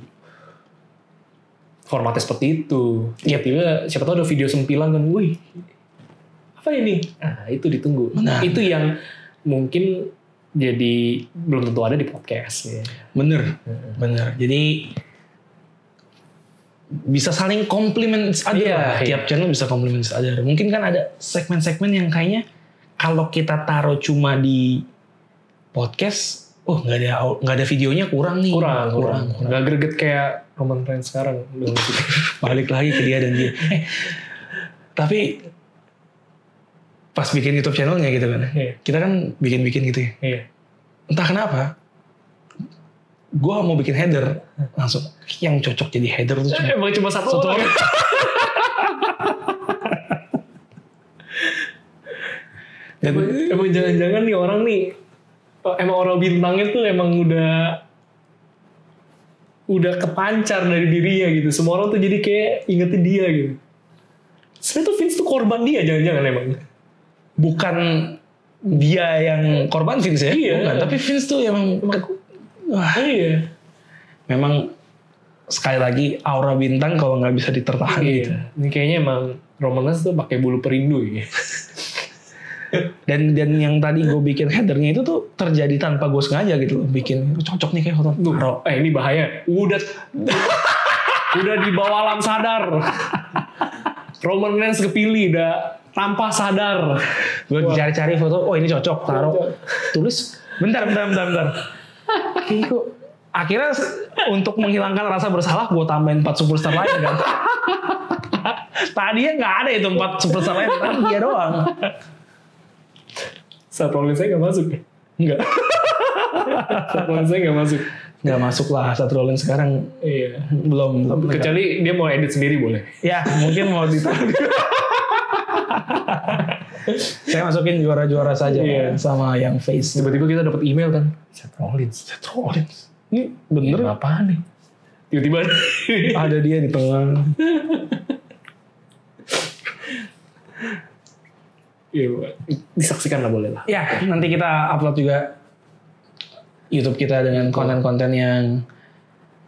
[SPEAKER 2] formatnya seperti itu. Tiba-tiba siapa tahu ada video sempilan kan, wih apa ini? Ah itu ditunggu.
[SPEAKER 1] Benar.
[SPEAKER 2] Itu yang mungkin jadi belum tentu ada di podcast. Ya.
[SPEAKER 1] bener bener jadi bisa saling komplimen ada
[SPEAKER 2] Iya,
[SPEAKER 1] lah.
[SPEAKER 2] iya.
[SPEAKER 1] tiap channel bisa komplimen ada mungkin kan ada segmen-segmen yang kayaknya kalau kita taruh cuma di podcast oh nggak ada nggak ada videonya kurang nih
[SPEAKER 2] Kurang,
[SPEAKER 1] kurang,
[SPEAKER 2] Iya, kurang,
[SPEAKER 1] kurang.
[SPEAKER 2] Nggak greget kayak Roman Reigns sekarang. Belum gitu.
[SPEAKER 1] balik lagi ke dia dan dia. Eh, Tapi pas bikin YouTube channelnya gitu kan,
[SPEAKER 2] Iya.
[SPEAKER 1] kita kan bikin-bikin gitu ya.
[SPEAKER 2] Iya.
[SPEAKER 1] Entah kenapa, gue mau bikin header langsung yang cocok jadi header tuh cuma
[SPEAKER 2] Emang cuma satu,
[SPEAKER 1] Satu
[SPEAKER 2] orang.
[SPEAKER 1] dan
[SPEAKER 2] Emang- Emang jangan-jangan nih orang nih eh, emang orang bintangnya tuh emang udah udah kepancar dari dirinya gitu. Semua orang tuh jadi kayak ingetin dia gitu. Sebenarnya tuh Vince tuh korban dia jangan-jangan emang.
[SPEAKER 1] bukan dia yang korban Vince ya,
[SPEAKER 2] Iya.
[SPEAKER 1] bukan. Tapi Vince tuh emang wah,
[SPEAKER 2] iya.
[SPEAKER 1] memang sekali lagi aura bintang kalau nggak bisa ditertahan gitu.
[SPEAKER 2] Iya. Ini kayaknya emang Roman Reigns tuh pakai bulu perindu ya.
[SPEAKER 1] dan dan yang tadi gue bikin headernya itu tuh terjadi tanpa gue sengaja gitu loh bikin cocok nih kayak hotel
[SPEAKER 2] Tuh,
[SPEAKER 1] Taruh.
[SPEAKER 2] eh ini bahaya. Udah udah di bawah alam sadar. Roman Reigns kepilih udah tanpa sadar.
[SPEAKER 1] gue cari-cari foto oh ini cocok taruh
[SPEAKER 2] Cocok.
[SPEAKER 1] tulis bentar bentar bentar bentar Kayaknya kok- akhirnya s- untuk menghilangkan rasa bersalah gue tambahin 4 superstar lain kan tadinya nggak ada itu 4 superstar lain kan
[SPEAKER 2] Iya
[SPEAKER 1] dia doang
[SPEAKER 2] Saat Rollins saya nggak masuk. Enggak. Saat Rollins saya nggak masuk.
[SPEAKER 1] nggak masuk lah saat rolling sekarang
[SPEAKER 2] Iya.
[SPEAKER 1] belum belum
[SPEAKER 2] Kecuali dia mau edit sendiri boleh.
[SPEAKER 1] ya mungkin mau ditaruh saya masukin juara-juara saja
[SPEAKER 2] Iya.
[SPEAKER 1] sama yang face
[SPEAKER 2] Tiba-tiba kita dapat email kan. Seth Rollins. Seth Rollins. Ini bener
[SPEAKER 1] Ini
[SPEAKER 2] apa nih? Tiba-tiba
[SPEAKER 1] ada dia di tengah
[SPEAKER 2] Iya, disaksikan lah boleh lah.
[SPEAKER 1] ya nanti kita upload juga YouTube kita dengan konten-konten yang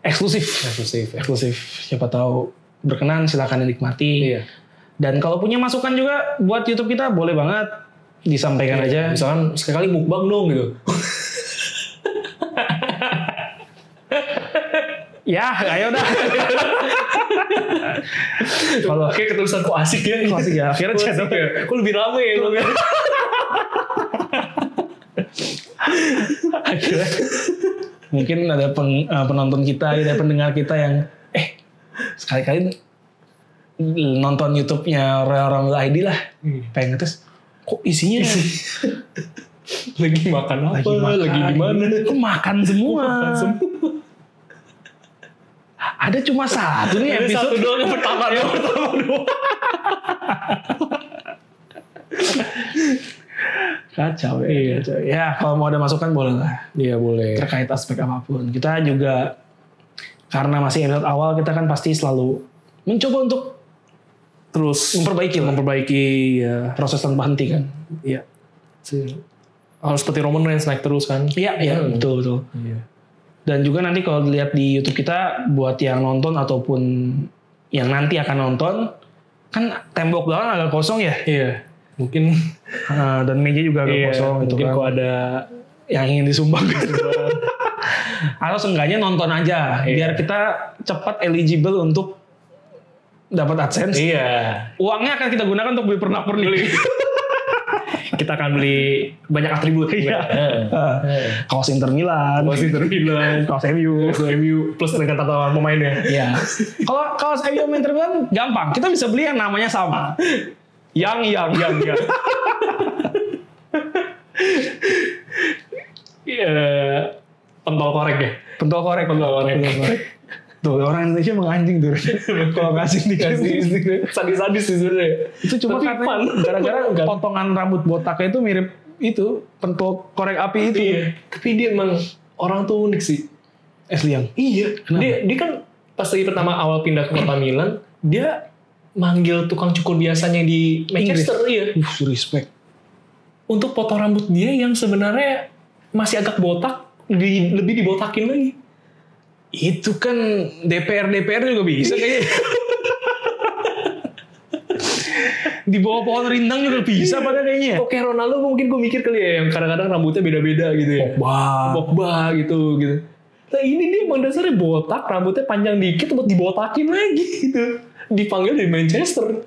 [SPEAKER 1] eksklusif
[SPEAKER 2] Eksklusif. ya.
[SPEAKER 1] eksklusif siapa tahu berkenan silahkan dinikmati
[SPEAKER 2] Iya.
[SPEAKER 1] dan kalau punya masukan juga buat YouTube kita boleh banget
[SPEAKER 2] Iya.
[SPEAKER 1] disampaikan aja
[SPEAKER 2] Misalkan sekali mukbang dong gitu.
[SPEAKER 1] ya ayo dah
[SPEAKER 2] Kalau kayak ketulisan kok asik ya.
[SPEAKER 1] Klasik ya, akhirnya
[SPEAKER 2] Kok
[SPEAKER 1] channel
[SPEAKER 2] asik ya. Kok lebih rame ya. Bang?
[SPEAKER 1] akhirnya mungkin ada peng- eh, penonton kita ada pendengar kita yang eh sekali-kali nonton YouTube-nya orang-orang ID lah pengen ngetes kok isinya
[SPEAKER 2] lagi makan apa? Lagi,
[SPEAKER 1] makan.
[SPEAKER 2] di mana?
[SPEAKER 1] Kok makan semua
[SPEAKER 2] Makan semua.
[SPEAKER 1] Ada cuma satu nih
[SPEAKER 3] Ini satu
[SPEAKER 1] episode.
[SPEAKER 3] doang yang pertama doang.
[SPEAKER 1] Kacau ya.
[SPEAKER 2] Iya.
[SPEAKER 1] kacau. Ya kalau mau ada masukan boleh lah.
[SPEAKER 2] Iya boleh.
[SPEAKER 1] Terkait aspek apapun. Kita juga karena masih episode awal kita kan pasti selalu mencoba untuk
[SPEAKER 2] Terus
[SPEAKER 1] memperbaiki lah.
[SPEAKER 2] memperbaiki ya.
[SPEAKER 1] Proses tanpa henti kan.
[SPEAKER 2] Iya. Si- Harus seperti Roman Reigns naik terus kan.
[SPEAKER 1] Iya, iya,
[SPEAKER 2] Hmm.
[SPEAKER 1] betul, betul.
[SPEAKER 2] Iya.
[SPEAKER 1] Dan juga nanti kalau dilihat di YouTube kita buat yang nonton ataupun yang nanti akan nonton kan tembok belakang agak kosong ya
[SPEAKER 2] Iya. Mungkin
[SPEAKER 1] Eh, dan meja juga agak
[SPEAKER 2] iya,
[SPEAKER 1] kosong gitu
[SPEAKER 2] mungkin
[SPEAKER 1] kan.
[SPEAKER 2] kok ada
[SPEAKER 1] Yang ingin disumbang Atau seenggaknya nonton aja
[SPEAKER 2] Iya.
[SPEAKER 1] biar kita cepat eligible untuk dapat AdSense.
[SPEAKER 2] Iya.
[SPEAKER 1] Uangnya akan kita gunakan untuk beli pernak-pernik.
[SPEAKER 2] Kita akan beli banyak atribut.
[SPEAKER 1] Iya.
[SPEAKER 2] Heeh.
[SPEAKER 1] Eh, Kaos Inter Milan,
[SPEAKER 2] Masih terbilang.
[SPEAKER 1] kaos MU.
[SPEAKER 2] Terus MU plus dengan tatapan pemainnya.
[SPEAKER 1] Iya. Kalau kaos MU sama Inter Milan gampang, kita bisa beli yang namanya sama. Yang yang yang yang.
[SPEAKER 2] Eh, pentol korek ya.
[SPEAKER 1] Pentol korek, pentol korek.
[SPEAKER 2] Pentol korek.
[SPEAKER 1] Tuh orang Indonesia emang anjing tuh. Kalau ngasih dikasih.
[SPEAKER 2] Sadis-sadis sih sebenarnya.
[SPEAKER 1] itu cuma
[SPEAKER 2] Tapi
[SPEAKER 1] karena
[SPEAKER 2] fun.
[SPEAKER 1] gara-gara
[SPEAKER 2] Kan.
[SPEAKER 1] potongan rambut botaknya itu mirip itu pentol korek api itu.
[SPEAKER 2] Iya. Tapi dia emang orang tuh unik sih.
[SPEAKER 1] Es liang.
[SPEAKER 2] Iya.
[SPEAKER 1] Kenapa?
[SPEAKER 2] Dia dia kan pas lagi pertama awal pindah ke kota Milan, dia manggil tukang cukur biasanya di Manchester iya.
[SPEAKER 1] Uh, respect.
[SPEAKER 2] Untuk potong rambut dia yang sebenarnya masih agak botak, di- lebih dibotakin lagi.
[SPEAKER 1] Itu kan DPR DPR juga bisa kayaknya. Di bawah pohon rindang juga bisa pada kayaknya.
[SPEAKER 2] Oke Ronaldo mungkin gue mikir kali ya yang kadang-kadang rambutnya beda-beda gitu ya.
[SPEAKER 1] Wah.
[SPEAKER 2] Pogba gitu gitu. Nah ini dia emang dasarnya botak, rambutnya panjang dikit buat dibotakin lagi gitu. Dipanggil dari Manchester.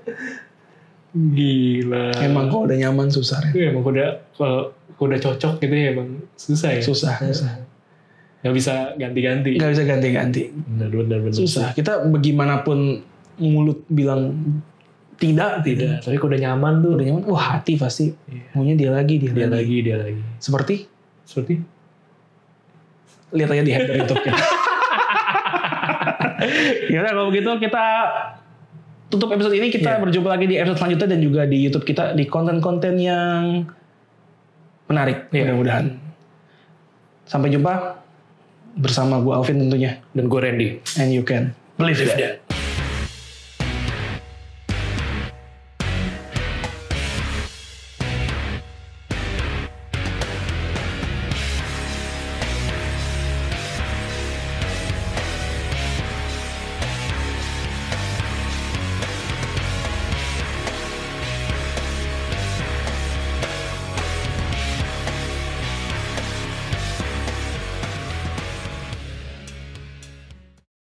[SPEAKER 2] Gila.
[SPEAKER 1] Emang kok udah nyaman susah Ren.
[SPEAKER 2] itu Iya, emang kuda kalau kuda cocok gitu ya emang susah ya.
[SPEAKER 1] Susah, susah.
[SPEAKER 2] Gak bisa ganti-ganti.
[SPEAKER 1] Gak bisa ganti-ganti.
[SPEAKER 2] Benar benar benar.
[SPEAKER 1] Susah. Kita bagaimanapun mulut bilang tidak, tidak.
[SPEAKER 2] Tidak. Tapi kuda nyaman tuh
[SPEAKER 1] Udah nyaman. Wah hati pasti.
[SPEAKER 2] Iya.
[SPEAKER 1] Maunya dia lagi, dia,
[SPEAKER 2] dia
[SPEAKER 1] lagi.
[SPEAKER 2] lagi dia lagi.
[SPEAKER 1] Seperti
[SPEAKER 2] Seperti
[SPEAKER 1] lihat aja di header YouTube kita. ya udah kalau begitu kita tutup episode ini kita berjumpa lagi di episode selanjutnya dan juga di YouTube kita di konten-konten yang menarik
[SPEAKER 2] Iya.
[SPEAKER 1] mudah-mudahan. Sampai jumpa bersama gue Alvin tentunya
[SPEAKER 2] dan gue Randy.
[SPEAKER 1] and you can
[SPEAKER 2] Believe that.